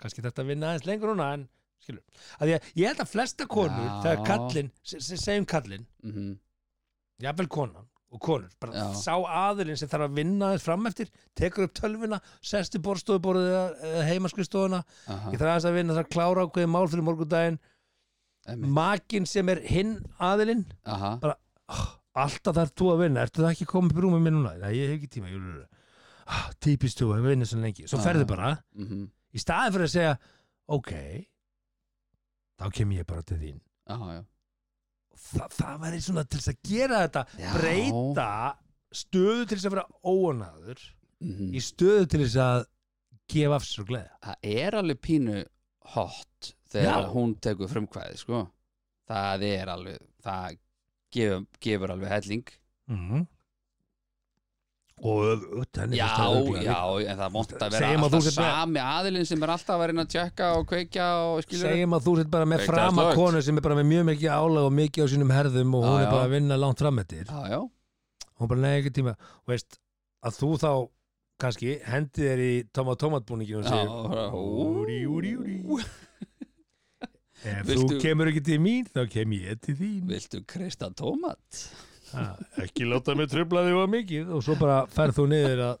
kannski þetta að vinna aðeins lengur núna en skilur, að því að ég held að flesta konur Já. þegar kallinn, se- se- segjum kallinn Mhm. jafnvel konan og konur bara Já. sá aðilinn sem þarf að vinna aðeins fram eftir tekur upp tölvuna, sest í borstofuborðið eða heimaskvistofuna Aha, ég þarf aðeins að vinna, þarf að klára ákveðið mál fyrir morgundaginn einmitt. makin sem er hinn aðilinn Aha. alltaf þarf þú að vinna, ertu það ekki komið upp í rúmið mér núna, Nei, ég hef ekki tíma ég, ah, típist þú, hefur vinnað svo lengi svo Já. ferðu bara Mhm. í staði fyrir að segja ok þá kem ég bara til þín Aha, já. Þa, það væri svona til þess að gera þetta Já. breyta stöðu til þess að vera óanaður Mhm. í stöðu til þess að gefa af sér og gleða Það er alveg pínu hot þegar Já. hún tekur frumkvæði sko. það er alveg það gefur, gefur alveg helling mm. og öfugt henni Já, finnst það örugglega já, líka. en það er vont að vera Segjum að þú alltaf sért með- sami aðilinn sem er alltaf að reyna að tjekka og kveikja og skilur segjum að þú sett bara með Veikt að frama slögt. konu sem er bara með mjög mikið álag og mikið á sínum herðum og Já, hún já. er bara að vinna langt fram eftir Já, já, hún bara nefnir ekki tíma veist, að þú þá kannski hendi þér í tomat tomatbúningin og segir Úri, úri, úri Ef Viltu- þú kemur ekki til mín, þá kem ég til þín Viltu kreista tómat? ha, Ekki láta mig tröfla þig var mikið Og svo bara ferð þú niður að,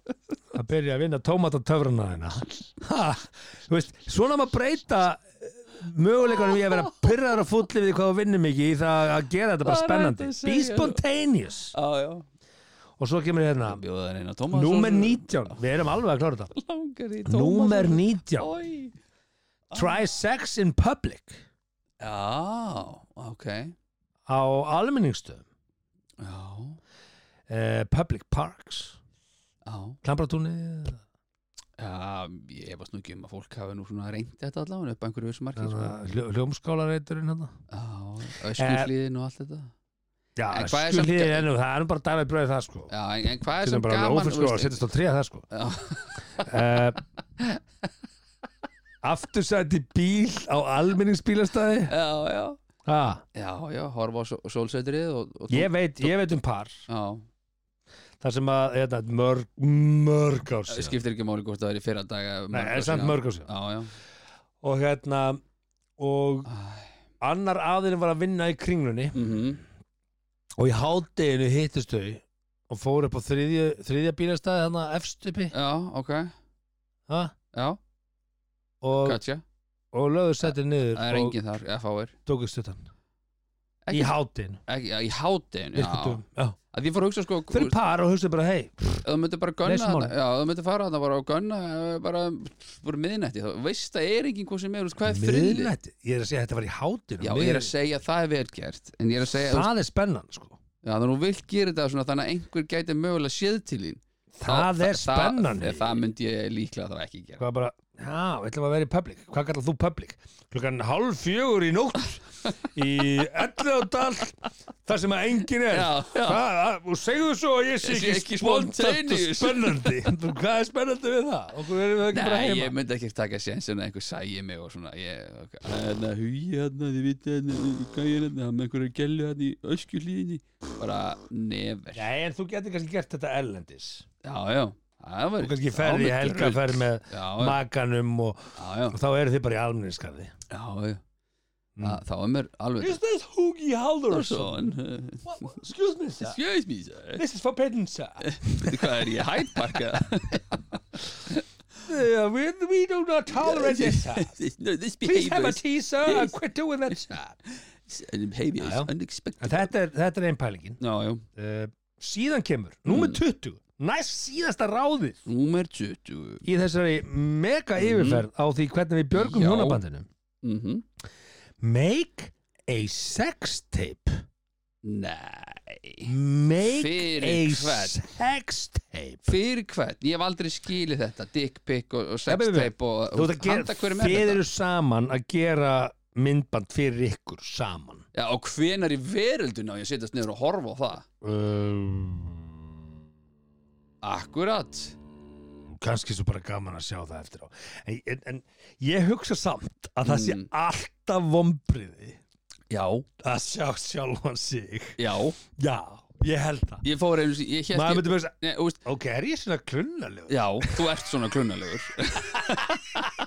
að byrja að vinna tómatatöfrana þeina ha, Þú veist, svona maður breyta möguleikunum í að vera pyrraður og fulli við hvað þú vinnum ekki í það að gera þetta bara Hvað er hægt spennandi að Be segja? spontaneous Já, já Og svo kemur hérna Bjóða þær eina tómat Númer 19, við erum alveg að klára þetta Langar í tómat Númer 19, Oj. try sex in public Já, ok á almenningstöðum Já, eh, Public Parks já Klambratúni Já, ég varst nú ekki um að fólk hafi nú svona reyndi þetta allavega upp að einhverju vissu marki sko. Hljómskálareiturinn hérna Já, öskuhlíðin og allt þetta Já, En hvað er samt- skulið er nú, það er nú bara dæmið bröðið það sko Já, en, en hvað er Sittum sem bara alveg gaman ófyrr sko, veist- sittist á tríða það sko Já. uh, Aftursæti bíl á almenningsbílastæði Já, já ah, Já, já, horfa á sól- sólsetrið og, og ég, veit, ég veit um par Já, þar sem að hérna, mörg, mörg ár það síðan skiptir ekki máli hvort það er í fyrra daga Nei, er samt mörg ár síðan Já, já Og hérna og annar aðeins var að vinna í kringlunni Mhm. og í hádeginu hittist þau og fóru upp á þriðja, þriðja bílastæði þannig að efstupi Já, ok ha? Já, og, gotcha og lögðu sættir niður Það er og enginn þar, F.A.R. tóku stuttan Ekki- í hádeginu, Ekki, já, í hátinu, já virkutum já. Að ég fór að hugsa sko fyrir par og hugstu bara hei ef þú myndir bara gunna Leysum þarna, málið. já, ef þú myndir fara þarna bara og gunna eh, bara, bara miðnætti, þá veist það er enginn hvað sem er, þú veist, hvað er friðlið miðnætti, ég er að segja að þetta var í hádeginu já, ég er að segja, það er vel gert en ég er að segja, þú veist, það er spennan sko já, þannig að þú vilt gera þetta svona þannig að einhver gæti mögulega séð til þín það, Þá- er spennan það, það myndi ég líklega þá ekki gera hvað bara, já, ætlum að vera í public hvað kallar þú public? klukkan hálf fjögur í nótt í ellu og dal þar sem að engin er Já, já. Hvað, að- og segðu svo að ég sé Ég sé ekki, ekki spontant og spontaneous. spennandi Þú, hvað er spennandi við það? okkur erum við ekki bara Nei, heima ég myndi ekki taka séns en að einhver sæi mig og svona ég, ok, hérna, hugi hérna, þið viti hérna gæði hérna, hann með einhverju gellu hérna í öskulíðinni bara never já, Nei, en þú getur kannski gert þetta erlendis já, það var og kannski ferði í helgaferð með já, já, makanum og, já, og þá eru þið bara í almenningskarði Já, já Mm. Þa- Þá er mér alveg Is this Hugi Haldursson? Son, Excuse me, sir Excuse me, sir This is forbidden, sir Veitu Hvað er ég hættparka? Yeah, Uh, we, we do not tolerate this, sir No, this Please have behavior a is tea, sir, and quit doing that, sir behavior Já, já. is unexpected Þetta er, þetta er einn pælingin Já, já uh, Síðan kemur, Mm. númer 20 Næst síðasta ráðið Númer 20 í þessari mega yfirferð á því hvernig við björgum Já. hjónabandinu Mhm. Make a sex tape Nei Make Fyrir a hvern? sex tape Fyrir hvern? Ég hef aldrei skilið þetta Dick pic og, og sex bíddu, bíddu. tape og Þú ert að gera, Handa hverjum er þið þetta? eru saman að gera myndband fyrir ykkur saman Já, og hvenar í veröldun á ég að setjast niður og horfa á það? um, Akkurat kannski svo bara gaman að sjá það eftir á en, en, en ég hugsa samt að það sé Mm. alltaf vombriði Já að sjá sjálfan sig Já já, ég held það Ég fór einu sinni Ég hélt maður ég myndi bara að Nei, þú veist ok, er ég svona klunnalegur? Já, þú ert svona klunnalegur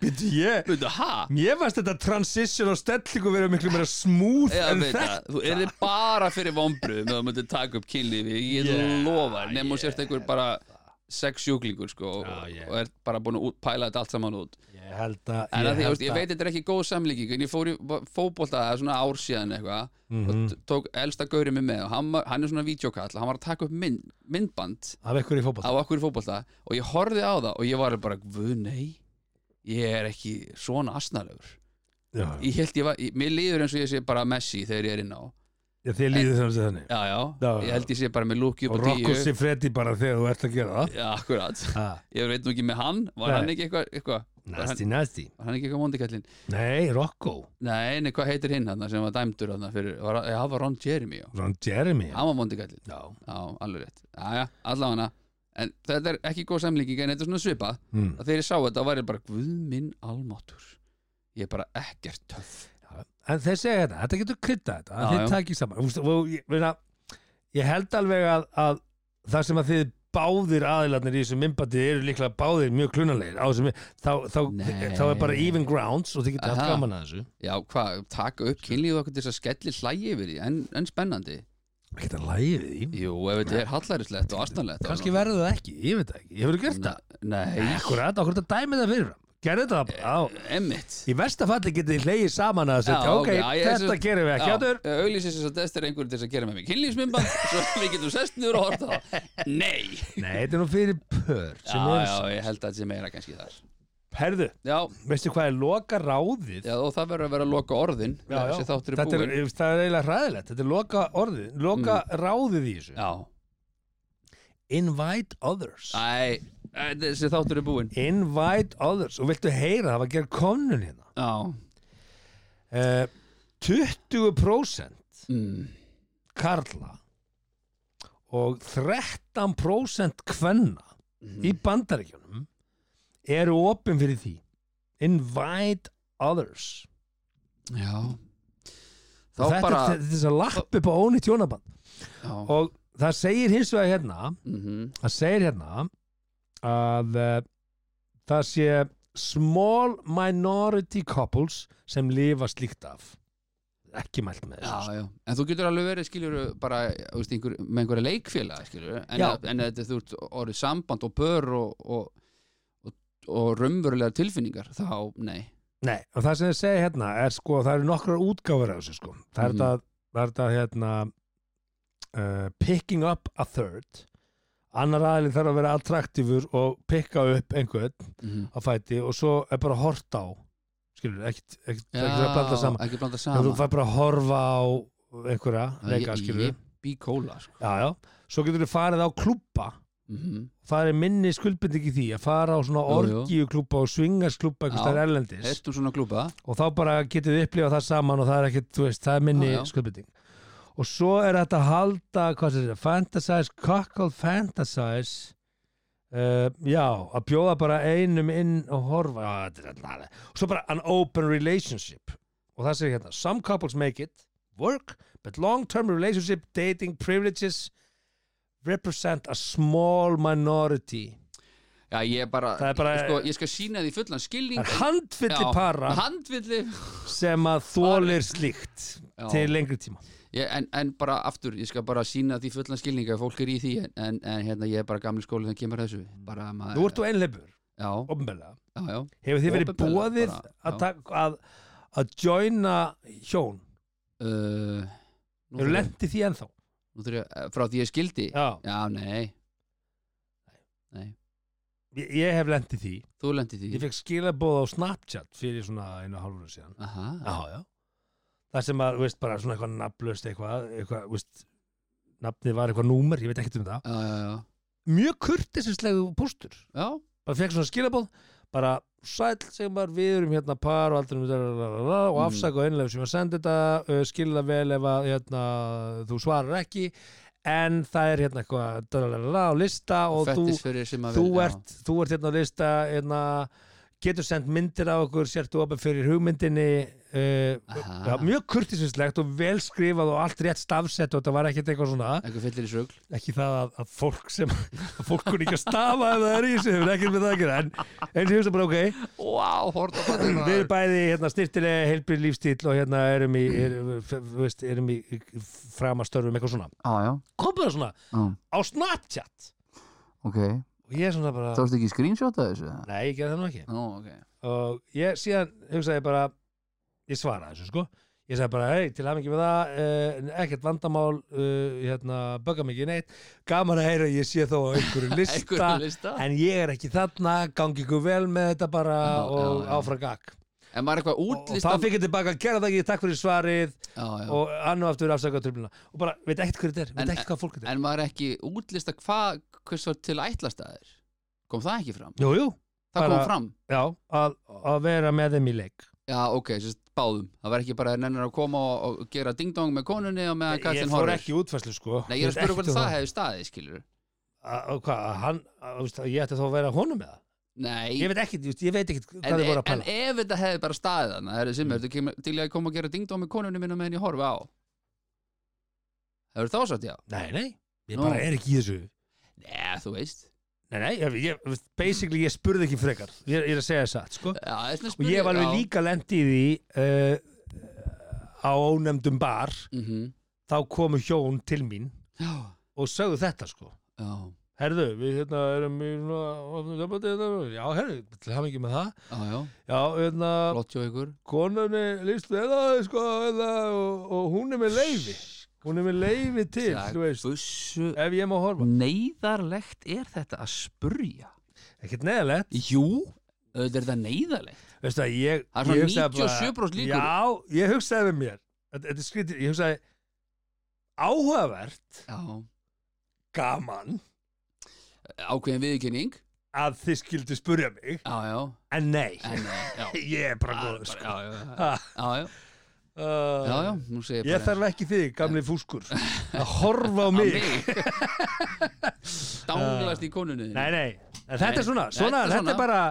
Bíddu, ég, Veitu, ha? mér fannst þetta transition og stellingu verið miklu meira smooth Já, en veit þetta það, þú erði bara fyrir vombruðum ef þú myndir taka upp kynlífi, ég yeah, Yeah, lofa þér, nema þú yeah. sért einhver bara sex sjúklingur sko og, Já, yeah. og er bara búin að út, pæla þetta allt saman út ég held að, en að því, held ég, veist, ég veit þetta er ekki góð samlíking en ég fór í fótbolta svona ár síðan eitthvað Mhm. og t- tók elsta gaurið mig með og hann, var- hann er svona videokall, hann var að taka upp mynd, myndband af ykkur í fótboll af okkur í fótbolta og ég horfði á það og ég var bara, vöð nei ég er ekki svona asnalegur ég held ég var, ég, mér líður eins og ég sé bara Messi þegar ég er inn á þið líður þannig þannig já, já, Já, já. ég held ég sé bara með lúki og upp á Rocco tíu Siffredi bara þegar þú ert að gera það já, akkurat, ha. ég veit nú ekki með hann var Nei. hann ekki eitthvað eitthva? var, hann- nasty nasty var hann ekki eitthvað mondikallin nei, Rocco, nei, nei, hvað heitir hinn hann sem var dæmdur hann fyrir, var, já, var Ron Jeremy já. Ron Jeremy hann var mondikallin, já, já, alveg rétt já, já, allavega en þetta er ekki góð samlíking en þetta er svona svipað mm. að þegar ég sá þetta var ég bara, guð minn almátur ég er bara ekkert töff en þeir segja þetta, þetta getur krytta þetta að Já, þeir já. takir saman Úst, og, ég, meina, ég held alveg að, að það sem að þið báðir aðilarnir í þessu mymbandi eru líklega báðir mjög klunalegir á þessu mynd- þá, þá, Nei. þá er bara even grounds og þið getið haft Aha. gaman að þessu Já, hvað, taka upp kynlíf og okkur til þess að skelli hlægi yfir því, en, en spennandi. Við getið að lægi við því Jú, ef þetta er hallærislegt og astanlegt. kannski verður það ekki, ég veit það ekki, ég verður gert það Nei, Akkurat, okkur þetta dæmið það fyrir Gerðu það á emmitt. Í versta falli getið þið hleyið saman að þessu Já, Ok, já, eh, ég- þetta þessu- gerum við ekki átur auðlýsins þess að þetta er einhverjum til þess að gera með mig kynlífsmymband svo við getum sest niður og horta það Nei! Nei, þetta er nú fyrir pör Já, sem er já, ég held að þetta sé meira kannski þar Herðu, Já, veistu hvað er loka ráðið? já og það verður að vera að loka orðin þegar þessi þáttur er Þetta er, búinn Mm. ég veist, það er eiginlega hræðilegt Þetta er loka orðið, loka ráðið í þessu Já, Invite others æ, æ, þessi þáttur er búinn Invite others Og viltu heyra, það var að gera konun hérna Já, uh, 20% mm. karla og 13% kvenna í Mhm. bandaríkjunum eru opin fyrir því invite others já Þá þetta bara er þess að lapp upp á ónýtt hjónaband já. og það segir hins vegar hérna mhm, það segir hérna að uh, það sé small minority couples sem lifa slíkt af ekki mælt með þessu Já, já, en þú getur alveg verið skiljur bara, þú veist, einhver, með einhverja leikfélag skiljur, en, Já. en þetta þú ert orðið samband og bör og, og, og, og raunverulegar tilfinningar þá, nei Nei, og það sem þið segja hérna er sko, það eru nokkrar útgáfur af þessu sko. Það er Mhm. þetta, það er þetta hérna uh, picking up a third annar aðlið þarf að vera attraktífur og pikka upp einhvern mm. á fæti og svo er bara að horta á skilur, ekkert, ekkert, ekkert að blanda saman ekki blanda Ef þú saman. fær bara að horfa á einhverja leika, Ég- skilur ég bý kóla sko. já, já, svo getur þið farið á klúbba mm það er minni skuldbinding í því að fara á svona Jú, jú. orgiuklúbba og svingasklúbba Já. einhvers þar erlendis Hestum svona klúpa og þá bara getið þið upplifað það saman og það er ekkit, þú veist, það er minni Já, já. skuldbinding og svo er þetta að halda hvað sem þetta, fantasize, cockle fantasize uh, já, að bjóða bara einum inn og horfa já, þetta er alltaf alveg. og svo bara an open relationship og það segir hérna, some couples make it work, but long term relationship dating privileges represent a small minority Já, ég bara, Það er bara- ég, sko, ég skal sína því fullan skilning það er handfylli Já, para handvilli sem að þólir slíkt Já. til lengri tíma ég, en, en bara aftur, ég skal bara sína því fullan skilning að fólk er í því en, en hérna, ég er bara gamli skóli þannig kemur að þessu bara að maður Nú ert þú einleipur, já, ofnbæðlega. já, já, Hefur þið verið Opinberlega bóðið bara, að, já. tak- að, að joina hjón? Uh, nú Hefur þarf ég- lent í því ennþá? nú þarf ég- eh, frá því ég skildi Já, nei, ég, ég hef lent í því. þú lendi Ég því fekk skilabóð á Snapchat fyrir svona einu og hálfur síðan. Aha, Já, já. Það sem að, þú veist, bara svona eitthvað nafnlaust eitthvað, eitthvað, þú veist, nafnið var eitthvað númer, ég veit ekkert um það. já, já, já, Mjög kurtisislegu póstur. já Bara fekk svona skilabóð, bara sæl sem var við erum hérna par og aldrei og Mm. afsaka einlega sem að senda þetta uh, skilja vel ef að hérna, þú svarar ekki en það er hérna eitthvað dalalala á lista og þú, fettis fyrir sem að þú, vil- já. ert, þú ert hérna á lista hérna, getur sendt myndir af okkur sértu opið fyrir hugmyndinni uh, Aha. já, mjög kurtisislegt og vel skrifað og allt rétt stafsett og þetta var ekkert eitthvað svona einhver fyllir í sögl ekki það að, að fólk sem að fólk kunni ekki að stafa ef það er í þessu hefur ekkert með það að gera en, en ég hefst bara ok wow, horta við erum bæði hérna, styrtilega helbrið lífstíl og hérna erum í, erum, f- veist, erum í framastörfum eitthvað svona já, já, kom bara svona já, á Snapchat ok og ég er svona bara tókst ekki screenshot að þessu nei ég gerði það nú ekki nú, ok og ég síðan hugsaði bara ég svaraði þessu sko ég sagði bara hei til hafingi með það uh, ekkert vandamál uh, hérna bögga mig ekki neitt gaman að heyra að ég sé þó á einhverju lista einhverjum lista en, en ég er ekki þarna, gangi ykkur vel með þetta bara Já, og já, já. áfram gag maður er eitthvað og útlista þá fikk ég tilbaka, gera það ekki, takk fyrir svarið já, já. og annu aftur afsaka tröfluna og bara, veit ekkert hver þetta er, En- veit ekkert hvað fólk þetta er en maður er ekki útlista hvað hvers var til ætlastæðir kom það ekki fram? Jú, jú, það bara- kom fram já, að, að vera með þeim í leik já, ok, sérst, báðum það var ekki bara nennir að koma og, og gera ding-dong með konunni og meðan Ég kallinn fór Ah, horfir ekki í útfærslu sko Nei, ég er að veit ekkert spyrja hvernig um það hefði staðið, skilur Að- að Hvað, að hann, að, þú veist, að ég ætti þá að vera honum með það Nei, Ég veit ekkert, þú veist, ég veit ekkert en, e- hvað þið voru að en pæla ef þetta hefði bara staðið þannig, það er sem er, mm. til ég að koma að gera ding-dong með konunni minna meðan ég horfi á Það eru þá satt, já Nei, nei, ég Nú. bara er ekki í þessu Nei, þú veist Nei, nei, ég, ég, veist, basically ég spurði ekki frekar Ég, ég er að segja satt, sko Já, það er svona Og ég var alveg líka lendi í því uh, á ónefndum bar mm þá komu hjón til mín Já, og sögðu þetta, sko já, Herðu, við hérna erum í svona opnu sambandi hérna. Já, herðu, til hafa ekki með það já, já Já, hérna, Flott hjá ykkur konunni líst vel á þig, sko hérna, og, og hún er með leifi sko. Hún er með leifi til, Það- þú veist Hversu Ef ég má horfa neyðarlegt er þetta að spurja? Ekkert neðalegt Jú, auðvitað er þetta neyðarlegt Veistu að ég Það er svona ég hugsaði bara- 97% líkur. Já, ég hugsaði með mér Þetta þetta er skrítið, ég hugsaði Áhugavert, Já, gaman ákveðin viðkynning Að þið skildu spurja mig Já, já, En nei, en eh, já ég er bara góð Já, sko. já, já, Ha, já, uh, já, já, nú segir Ég þarf ekki þig, gamli fúskur Að horfa á mig Dánglast í konunni þinni. Nei, nei, en þetta er svona, Nei, svona, þetta er þetta svona. er bara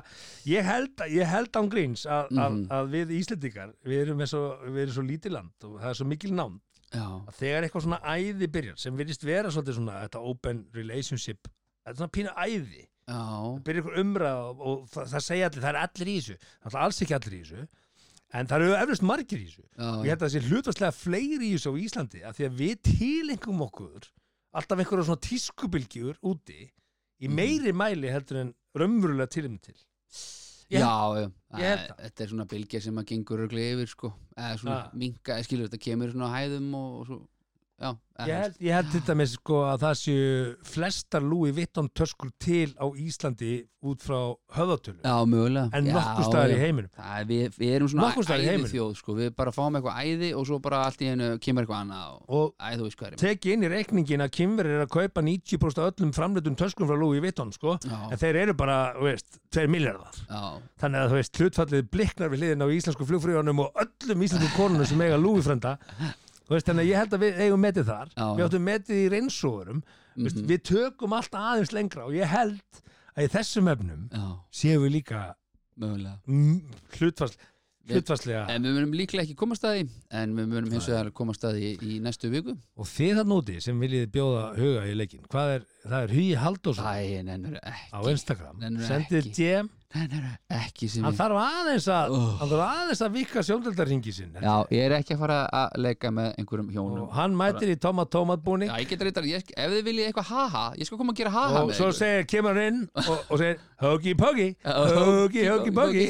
Ég held, ég held án gríns að, að, Mhm. að við Íslendingar Við erum, með svo, við erum svo lítið land og það er svo mikil nánd Já, að þegar eitthvað svona æði byrjar sem virðist vera svolítið svona þetta open relationship þetta er svona pínu æði já, byrjar eitthvað umræð og, og það, það segja allir, það er allir í þessu það er alls ekki allir í þessu en það eru eflust margir í þessu og ég held já, að það sé hlutvarslega fleiri í þessu á Íslandi af því að við tilengum okkur alltaf einhverja svona tískubilgjur úti Mhm. í meiri mæli heldur en raunverulega tilum til já, Ég- já. ég held það. Þetta er svona bylgja sem að gengur ögli yfir sko, eða svona Ha. minka, eða skilur þetta kemur svona á hæðum og, og svo, já eða ég þú held, ég held til dæmis sko að það séu flestar Louis Vuitton töskur til á Íslandi út frá höðatölu veist. Já, mögulega en Já, nokkur staðar í já. heiminum Það er, við, við erum svona Nokkurs staðar í heiminum. þjóð sko, við bara fáum eitthvað æði og svo bara allt í hennu kemur eitthvað annað og, og æ, þú veist hvað er teki inn í reikningin að Kimver er að kaupa 90% af öllum framleitum töskum frá Louis Vuitton sko. Já, en þeir eru bara, þú veist, 2 miljardar já, þannig að þú veist, hlutfallið bliknar við hliðin á íslensku flugfríðunum og öllum íslensku konunum sem eiga Louis frenda þú veist, þannig að ég held að við eigum metið þar Já. Mhm. við áttum metið í reynsóðurum mm veist, við tökum allt aðeins lengra og ég held að í þessum efnum já, séum við líka mögulega mm, hlutfall, Við- hlutfallslega En við munum líklega ekki komast að því en við munum hins vegar komast að því í næstu viku og þið þarna úti sem viljið bjóða huga í leikin, hvað er, það er Hugi Halldórsson Æ, nennur ekki á Instagram, Nennirðu sendið ekki? Mm. DM Nennur ekki sem hann ég þarf aðeins að Oh. hann þarf aðeins að vika sjóndeldarringi sinn Já, ég er ekki að fara að leika með einhverjum hjónum og hann mætir í Tomat Tomat búning Já, ég get reyndar, ég, ef þið viljið eitthvað haha ég skal koma að gera haha og með svo ykkur. segir, kemur hann inn og, og segir Huggy Puggy, Já, Huggy Huggy Puggy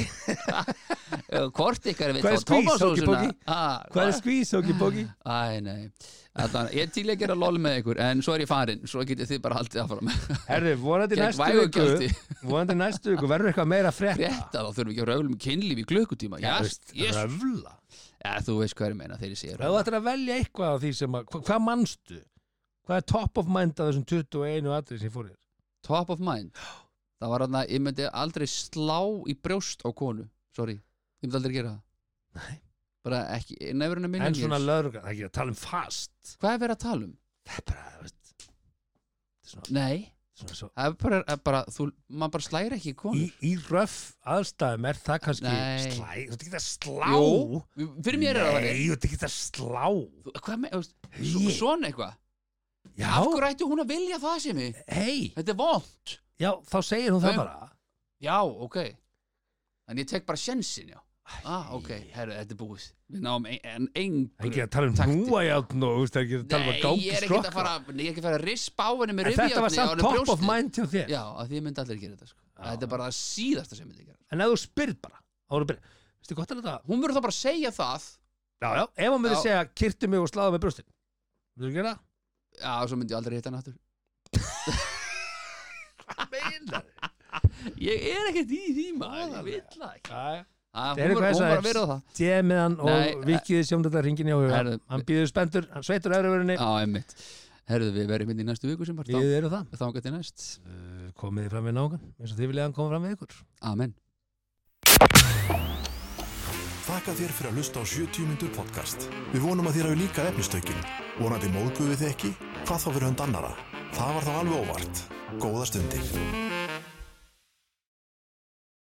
Eh, Hvort ykkar við Hvað er þá skvís, tómasósuna? Hóki-Póki? Ah, hvað er skvís Huggy Puggy Æ, nei Þannig, ég er til í að gera lol með ykkur en svo er ég farin, svo getið þið bara haldið áfram herðu, vonandi Gegn næstu vægu viku gjaldi. vonandi næstu viku, verður eitthvað meira frétt Rétta, þá þurfum við ekki að röflum kynlíf í klukkutíma Jast, jast röfla Já, þú veist hvað er meina þegar ég segir ef þú ættir að velja eitthvað af því sem að, hva, hvað manstu hvað er top of mind af þessum 21 atrið sem ég fór hér Top of mind Það var hann að ég myndi aldrei slá í brjóst á konu Sorry, ég myndi aldrei gera það Nei Bara ekki, nefnir henni minni en svona lögreglan, það er ekki að tala um fast Hvað er verið að tala um? það er bara, þú veist þetta er svona, Nei, svona svo það er bara, er bara þú, maður bara slæri ekki konu í, í röf aðstæðum er það kannski Nei. slæ, þú ert ekki að slá Jú, Fyrir mér er það nei, þannig þú ert ekki að slá Þú- Hvað með, þú veist, svo- Ég- svona eitthvað Af já, hverju ætti hún að vilja það sem ég? hei, Þetta er vond já, þá segir hún það Nei. bara Já, ok En ég tek bara sjensin, já Ah, ok, herru, þetta er búið Við náum ein, en það er engu ekki að tala um Taktik. núajátn og þú veist, það er ekki að tala um Nei, að ég gangi er ekki að skrokka fara Ég er ekki að fara að rispa á henni en með þetta var rifjátni samt top of mind hjá þér Já, að því myndi allir gera þetta sko. Já. Þetta er bara það síðasta sem myndi gera en ef þú spyrð bara, þá voru byrð veistu gott að þetta, Hún verður þá bara að segja það já, já, ef hann myndi Já. segja kyrtu mig og sláðu með brjóstin þú gera það? Já, svo myndi ég aldrei hitta hann aftur Meinar Ég er ekkert í því maður, Voðalega. ég vil það ekki þig? Æ, Þetta er Hún eitthvað var hún var að þess vera að það Djemiðan Nei, og vikið sjóndöldar hringin í áhuga Herðu- Hann býður spendur, hann sveitur öðruverunni Já, einmitt Herðu, við verðum hérna í næstu viku sem bara Við erum það þá Þá gæti næst Uh, Komið þið fram við nágan eins og þið viljaðan koma fram við ykkur Amen Þakka þér fyrir að hlusta á 70 mínútur podcast. Við vonum að þér hafi líka efnistökin. Vonandi móðguðu þið ekki? Hvað þá fyrir hönd annara? Það var þá alveg óvart. Góða stundir.